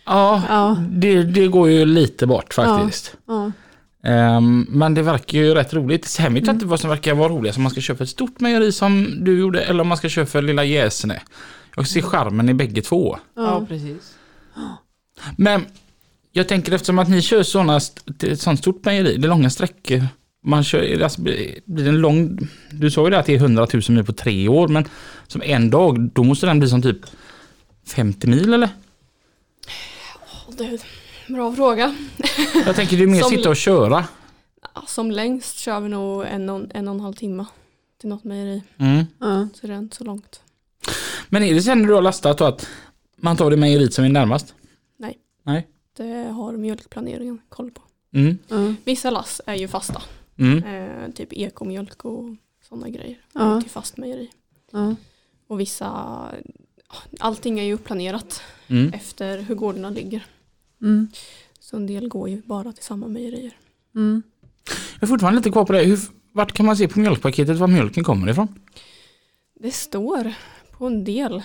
S3: Ja,
S2: Ja,
S3: det, det går ju lite bort faktiskt.
S2: ja,
S3: Ehm, men det verkar ju rätt roligt. Sen
S2: Mm.
S3: vet jag inte vad som verkar vara roligast, om man ska köpa för ett stort mejeri som du gjorde eller om man ska köpa för lilla Gäsene. Jag ser charmen i bägge två.
S7: Ja precis.
S3: Men jag tänker eftersom att ni kör sådana, st- ett sånt stort mejeri, det är långa sträckor. Man kör, alltså, blir blir det en lång, du sa ju det att det är 100 000 mil på tre år, men som en dag, då måste den bli som typ 50 mil eller?
S8: Och Det är en bra fråga.
S3: Jag tänker det är mer
S8: Som-
S3: sitta och köra.
S8: Ja, Som längst kör vi nog en och en, och en halv timme till något mejeri.
S3: Mm.
S2: ja.
S8: Så det är inte så långt.
S3: Men är det sen när du har lastat då att man tar det mejeriet som är närmast?
S8: Det har mjölkplaneringen koll på.
S3: Mm.
S2: ja.
S8: Vissa lass är ju fasta.
S3: Mm.
S8: Eh, typ ekomjölk och sådana grejer.
S2: Ja.
S8: Till fast mejeri.
S2: ja.
S8: Och vissa, allting är ju uppplanerat
S3: Mm.
S8: efter hur gårdarna ligger.
S2: Mm.
S8: Så en del går ju bara till samma mejerier.
S2: Mm.
S3: Jag är fortfarande lite kvar på det. Hur, vart kan man se på mjölkpaketet var mjölken kommer ifrån?
S8: Det står på en del.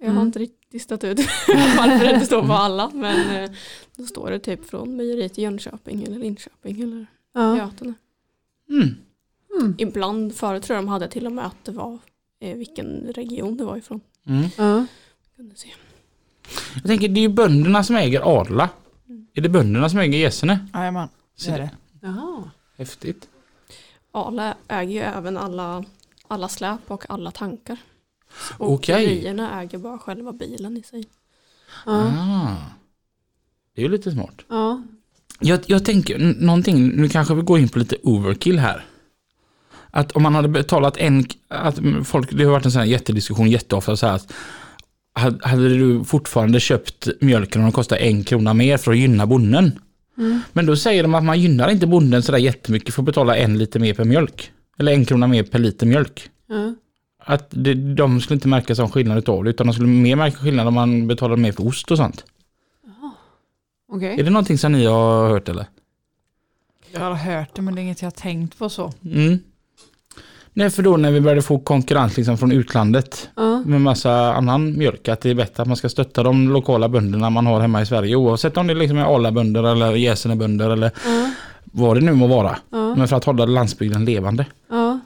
S8: Jag har
S2: Mm.
S8: inte riktigt stått ut varför det inte står på alla. Men eh, då står det typ från mejeriet i Jönköping eller Linköping eller
S2: Ja.
S8: Götene.
S3: Mm.
S2: Mm.
S8: Ibland förut tror jag de hade till och med att det var eh, vilken region det var ifrån.
S3: Mm.
S2: Ja.
S8: Kunde se.
S3: Jag tänker det är ju bönderna som äger Arla. Är det bönderna som äger Gäsene?
S7: Jajamän, det är det.
S2: Jaha.
S3: Häftigt.
S8: Arla äger ju även alla, alla släp och alla tankar. Och
S3: Okej.
S8: åkerierna äger bara själva bilen i sig.
S2: Ja.
S3: Ah. Det är ju lite smart.
S2: Ja.
S3: Jag, jag tänker n- någonting, nu kanske vi går in på lite overkill här. Att om man hade betalat en, att folk, det har varit en sån här jättediskussion jätteofta så här att hade- hade du fortfarande köpt mjölken om den kostar en krona mer för att gynna bonden?
S2: Mm.
S3: Men då säger de att man gynnar inte bonden sådär jättemycket för att betala en liter mer per mjölk. Eller en krona mer per liter mjölk.
S2: Ja.
S3: Att det, de skulle inte märka som skillnad utav det utan de skulle mer märka skillnad om man betalade mer för ost och sånt.
S2: Okej.
S3: Är det någonting som ni har hört eller?
S7: Jag har hört det men det är inget jag har tänkt på så.
S3: Mm. Nej, för då när vi började få konkurrens liksom från utlandet
S2: Ja.
S3: med massa annan mjölk, att det är bättre att man ska stötta de lokala bönderna man har hemma i Sverige, oavsett om det liksom är Arla-bönder eller Gäsenebönder eller
S2: Ja.
S3: vad det nu må vara.
S2: Ja.
S3: Men för att hålla landsbygden levande.
S2: Ja.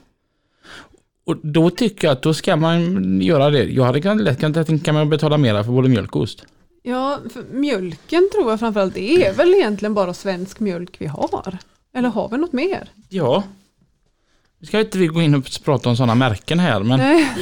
S3: Och då tycker jag att då ska man göra det. Jag hade kunnat- lätt kunnat tänka mig att betala mera för både mjölk och ost.
S2: Ja, för mjölken tror jag framförallt, det är väl egentligen bara svensk mjölk vi har. Eller har vi något mer?
S3: Ja. Nu ska inte vi gå in och prata om sådana märken här, men
S2: Nej,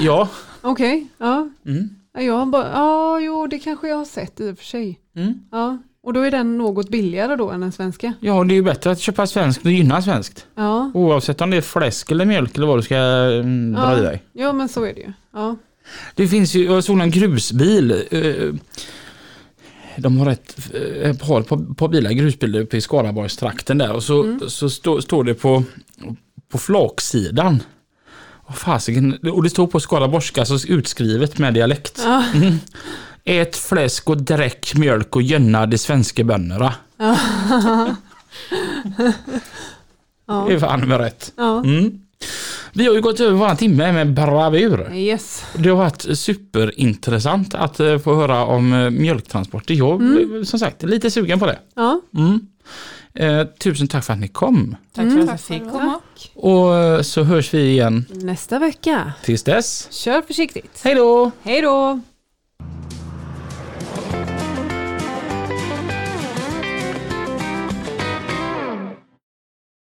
S3: ja.
S2: okej. ja.
S3: Mm.
S2: Ja, Jag har bara, ja, jo, det kanske jag har sett i och för sig.
S3: Mm.
S2: Ja, och då är den något billigare då än den svenska.
S3: Ja, och det är ju bättre att köpa svenskt och gynna svenskt.
S2: Ja,
S3: Oavsett om det är fläsk eller mjölk eller vad du ska mm, dra i
S2: ja.
S3: dig.
S2: ja men så är det ju. Ja.
S3: Det finns ju, jag såg en grusbil. eh, De har ett, eh, ett par, par, par bilar, grusbilar uppe i Skaraborgstrakten där och så,
S2: Mm.
S3: så stå, står det på, på flaksidan. Åh, fasiken, och det står på skaraborgska, så utskrivet med dialekt.
S2: Ja.
S3: Mm. Ät fläsk och dräck mjölk och gynna de svenska bönderna. Det är fan med rätt.
S2: Ja.
S3: Mm. Vi har ju gått över våran timme med bravur.
S2: Yes.
S3: Det har varit superintressant att eh, få höra om eh, mjölktransporter. Jag blev som sagt lite sugen på det.
S2: Ja.
S3: Mm. Eh, tusen tack för att ni kom.
S7: Tack för att vi fick komma.
S3: Och eh, så hörs vi igen
S2: Nästa vecka.
S3: tills dess.
S2: Kör försiktigt.
S3: Hej då!
S2: Hej då!